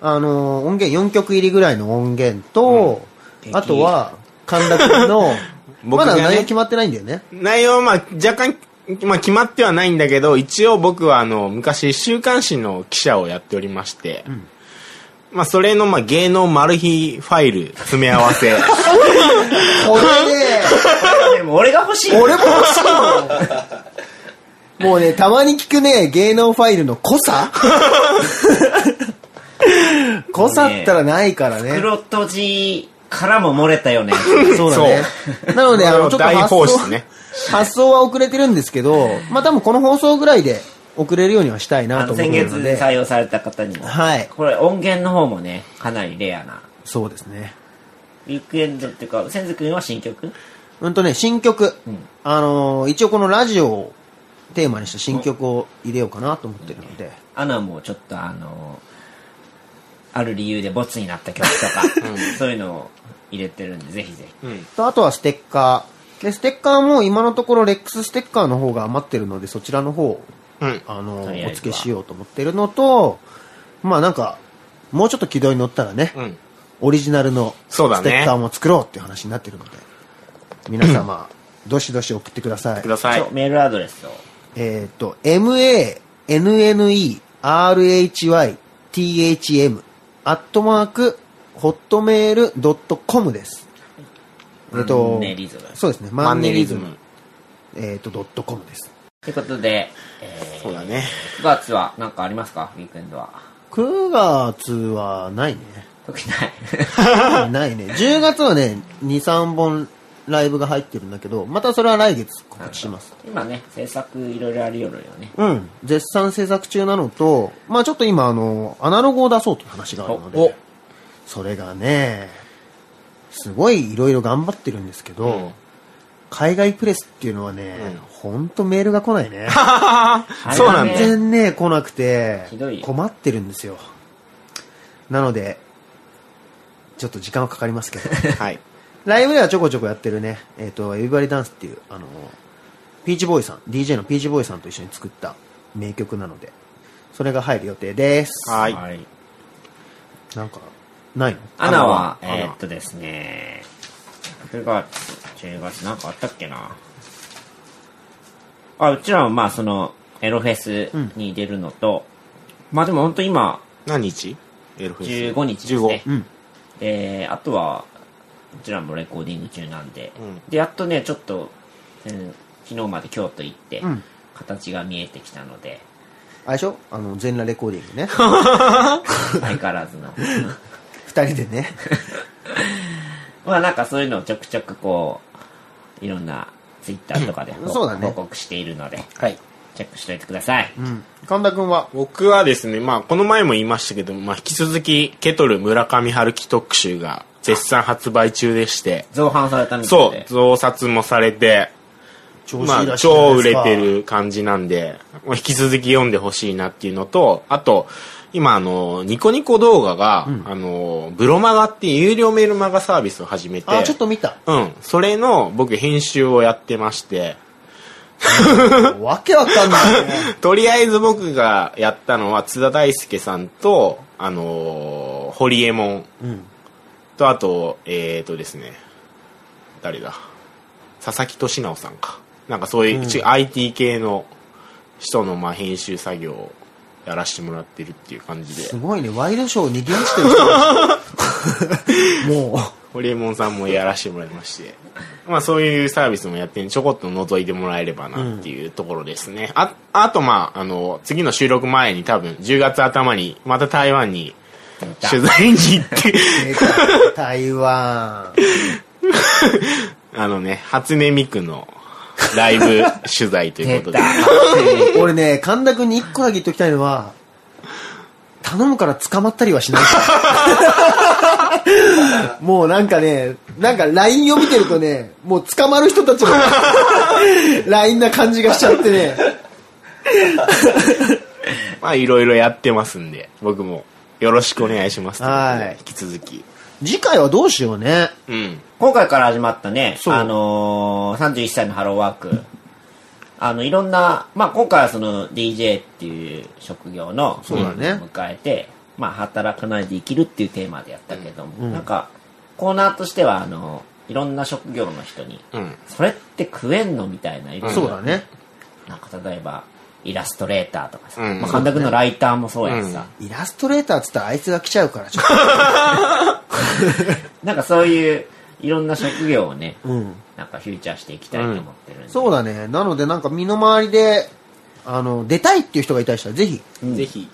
あの、音源、4曲入りぐらいの音源と、あとは、神楽君の、僕まがねだ内容決まってないんだよね。内容はまあ若干まあ決まってはないんだけど一応僕はあの昔週刊誌の記者をやっておりまして、まあそれのまあ芸能マル秘ファイル詰め合わせこれ *laughs* ね、でも俺が欲しい俺も欲しいのもうね、たまに聞くね、芸能ファイルの濃 *laughs* さ濃さったらないからね。黒とじからも漏れたよねそうだね。 *laughs* なので、あの、ちょっと大発放想出、ね発想は遅れてるんですけど、まあ多分この放送ぐらいで遅れるようにはしたいあなと思のう先の月で。採用された方にもはい。これ音源の方もねかなりレアなそうですね。ウィークエンドっていうか千鶴君は新曲うんとね、新曲。んあのー一応このラジオをテーマにした新曲を入れようかなと思ってるので。アナもちょっとあのある理由でボツになった曲とか、そういうのを入れてるんでぜひぜひとあとはステッカー。で、ステッカーも今のところレックスステッカーの方が余ってるので、そちらの方を、うんあの、とりあえずはお付けしようと思ってるのと、まあなんか、もうちょっと軌道に乗ったらね、うんオリジナルのステそうだねッカーも作ろうっていう話になってるので、皆様、どしどし送ってくださいく。ださいちょメールアドレスをえーっと、mannerhythm アットマーク、ホットメールドットコムです。えーっと、マンネリズムそうですね、マンネリズム。えっ、と、ドットコムです。ということで、えそうだねー、9月は何かありますかウィークエンドは9月はないね。特にない *laughs* *laughs* ないね。10月はね、2、3本ライブが入ってるんだけど、またそれは来月告知します。今ね制作いろいろありよるよねうん。絶賛制作中なのと、まあちょっと今、あの、アナログを出そうという話があるのおおで、それがね、すごいいろいろ頑張ってるんですけど、海外プレスっていうのはね、ほんとメールが来ないね。そうなん全だ然ね、来なくてひどい、困ってるんですよ。なので、ちょっと時間はかかりますけど。はいライブではちょこちょこやってるね、えっ、と、エビバリダンスっていう、あの、ピーチボーイさん、DJ のピーチボーイさんと一緒に作った名曲なので、それが入る予定です。はいなんか、ないのアナは、アナはえーっとですね、9月、10月なんかあったっけな。あ、うちらもまあその、エロフェスに出るのと、まあでも本当今、何日エルフェス15日ですね。 15んで、あとは、こちらもレコーディング中なんで、んで、やっとね、ちょっと、うん昨日まで京都行って、ん形が見えてきたので、あれでしょあの、全裸レコーディン *laughs* グね。相変わらずの。二人でね。まあなんかそういうのをちょくちょくこう、いろんなツイッターとかでうんそうだね報告しているので、はいチェックしといてください。うん。神田くんは、僕はですね、まあ、この前も言いましたけど、まあ、引き続き、ケトル村上春樹特集が絶賛発売中でして、造反されたみたいそうで、。増刷もされて、調まあ、超売れて。る感じなんで、まあ引き続き読んでほしいなっていうのと、あと、今、あの、ニコニコ動画が、あの、ブロマガっていう有料メールマガサービスを始めて、あ、ちょっと見た。うん、それの僕編集をやってまして、わけわかんないね。 *laughs* とりあえず僕がやったのは津田大介さんと、あのー、堀江門うん。と、あと、えーとですね、誰だ佐々木俊直さんか。なんかそういう、ち IT 系の人のまあ編集作業をやらせてもらってるっていう感じすで、ごいね。ワイドショーを逃げ落ちてる *laughs* 人もう、堀江門さんもやらせてもらいまして、まあそういうサービスもやってるんでちょこっと覗いてもらえればなっていうところですね。あ、あとまあ、あの、次の収録前に多分10月頭にまた台湾に取材に行って、出た台湾。 *laughs* あのね、初音ミクのライブ取材という出ことでた。。俺ね、神田くんに一個だけ言っときたいのは、頼むから捕まったりはしないから。 *laughs* もうなんかね、なんか LINE を見てるとね、もう捕まる人たちの LINE な感じがしちゃってね。 *laughs* まあいろいろやってますんで、僕もよろしくお願いしますとうことではい引き続き。次回はどうしようね。うん。今回から始まったね、うあのー、31歳のハローワーク。あの、いろんな、まあ、今回はその DJ っていう職業の、そうだねを迎えて、まあ、働かないで生きるっていうテーマでやったけども、なんか、コーナーとしては、あの、いろんな職業の人に、うん。それって食えんのみたいな、いろんなそうだね。なんか例えば、イラストレーターとかさ、うんまあ、神田君のライターもそうやしさ、イラストレーターっつったらあいつが来ちゃうから、ちょっなんかそういう、いろんな職業をね、と。うん。なんかフューチャーしていきたいと思ってるんで、そうだね。なのでなんか身の回りで、あの、出たいっていう人がいたりしたら、ぜひ、ぜひ。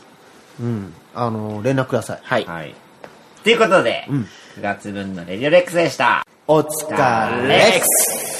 うん、あの、連絡ください。はい。はい。ということで、9月分のレディオレックスでした。お疲れレックス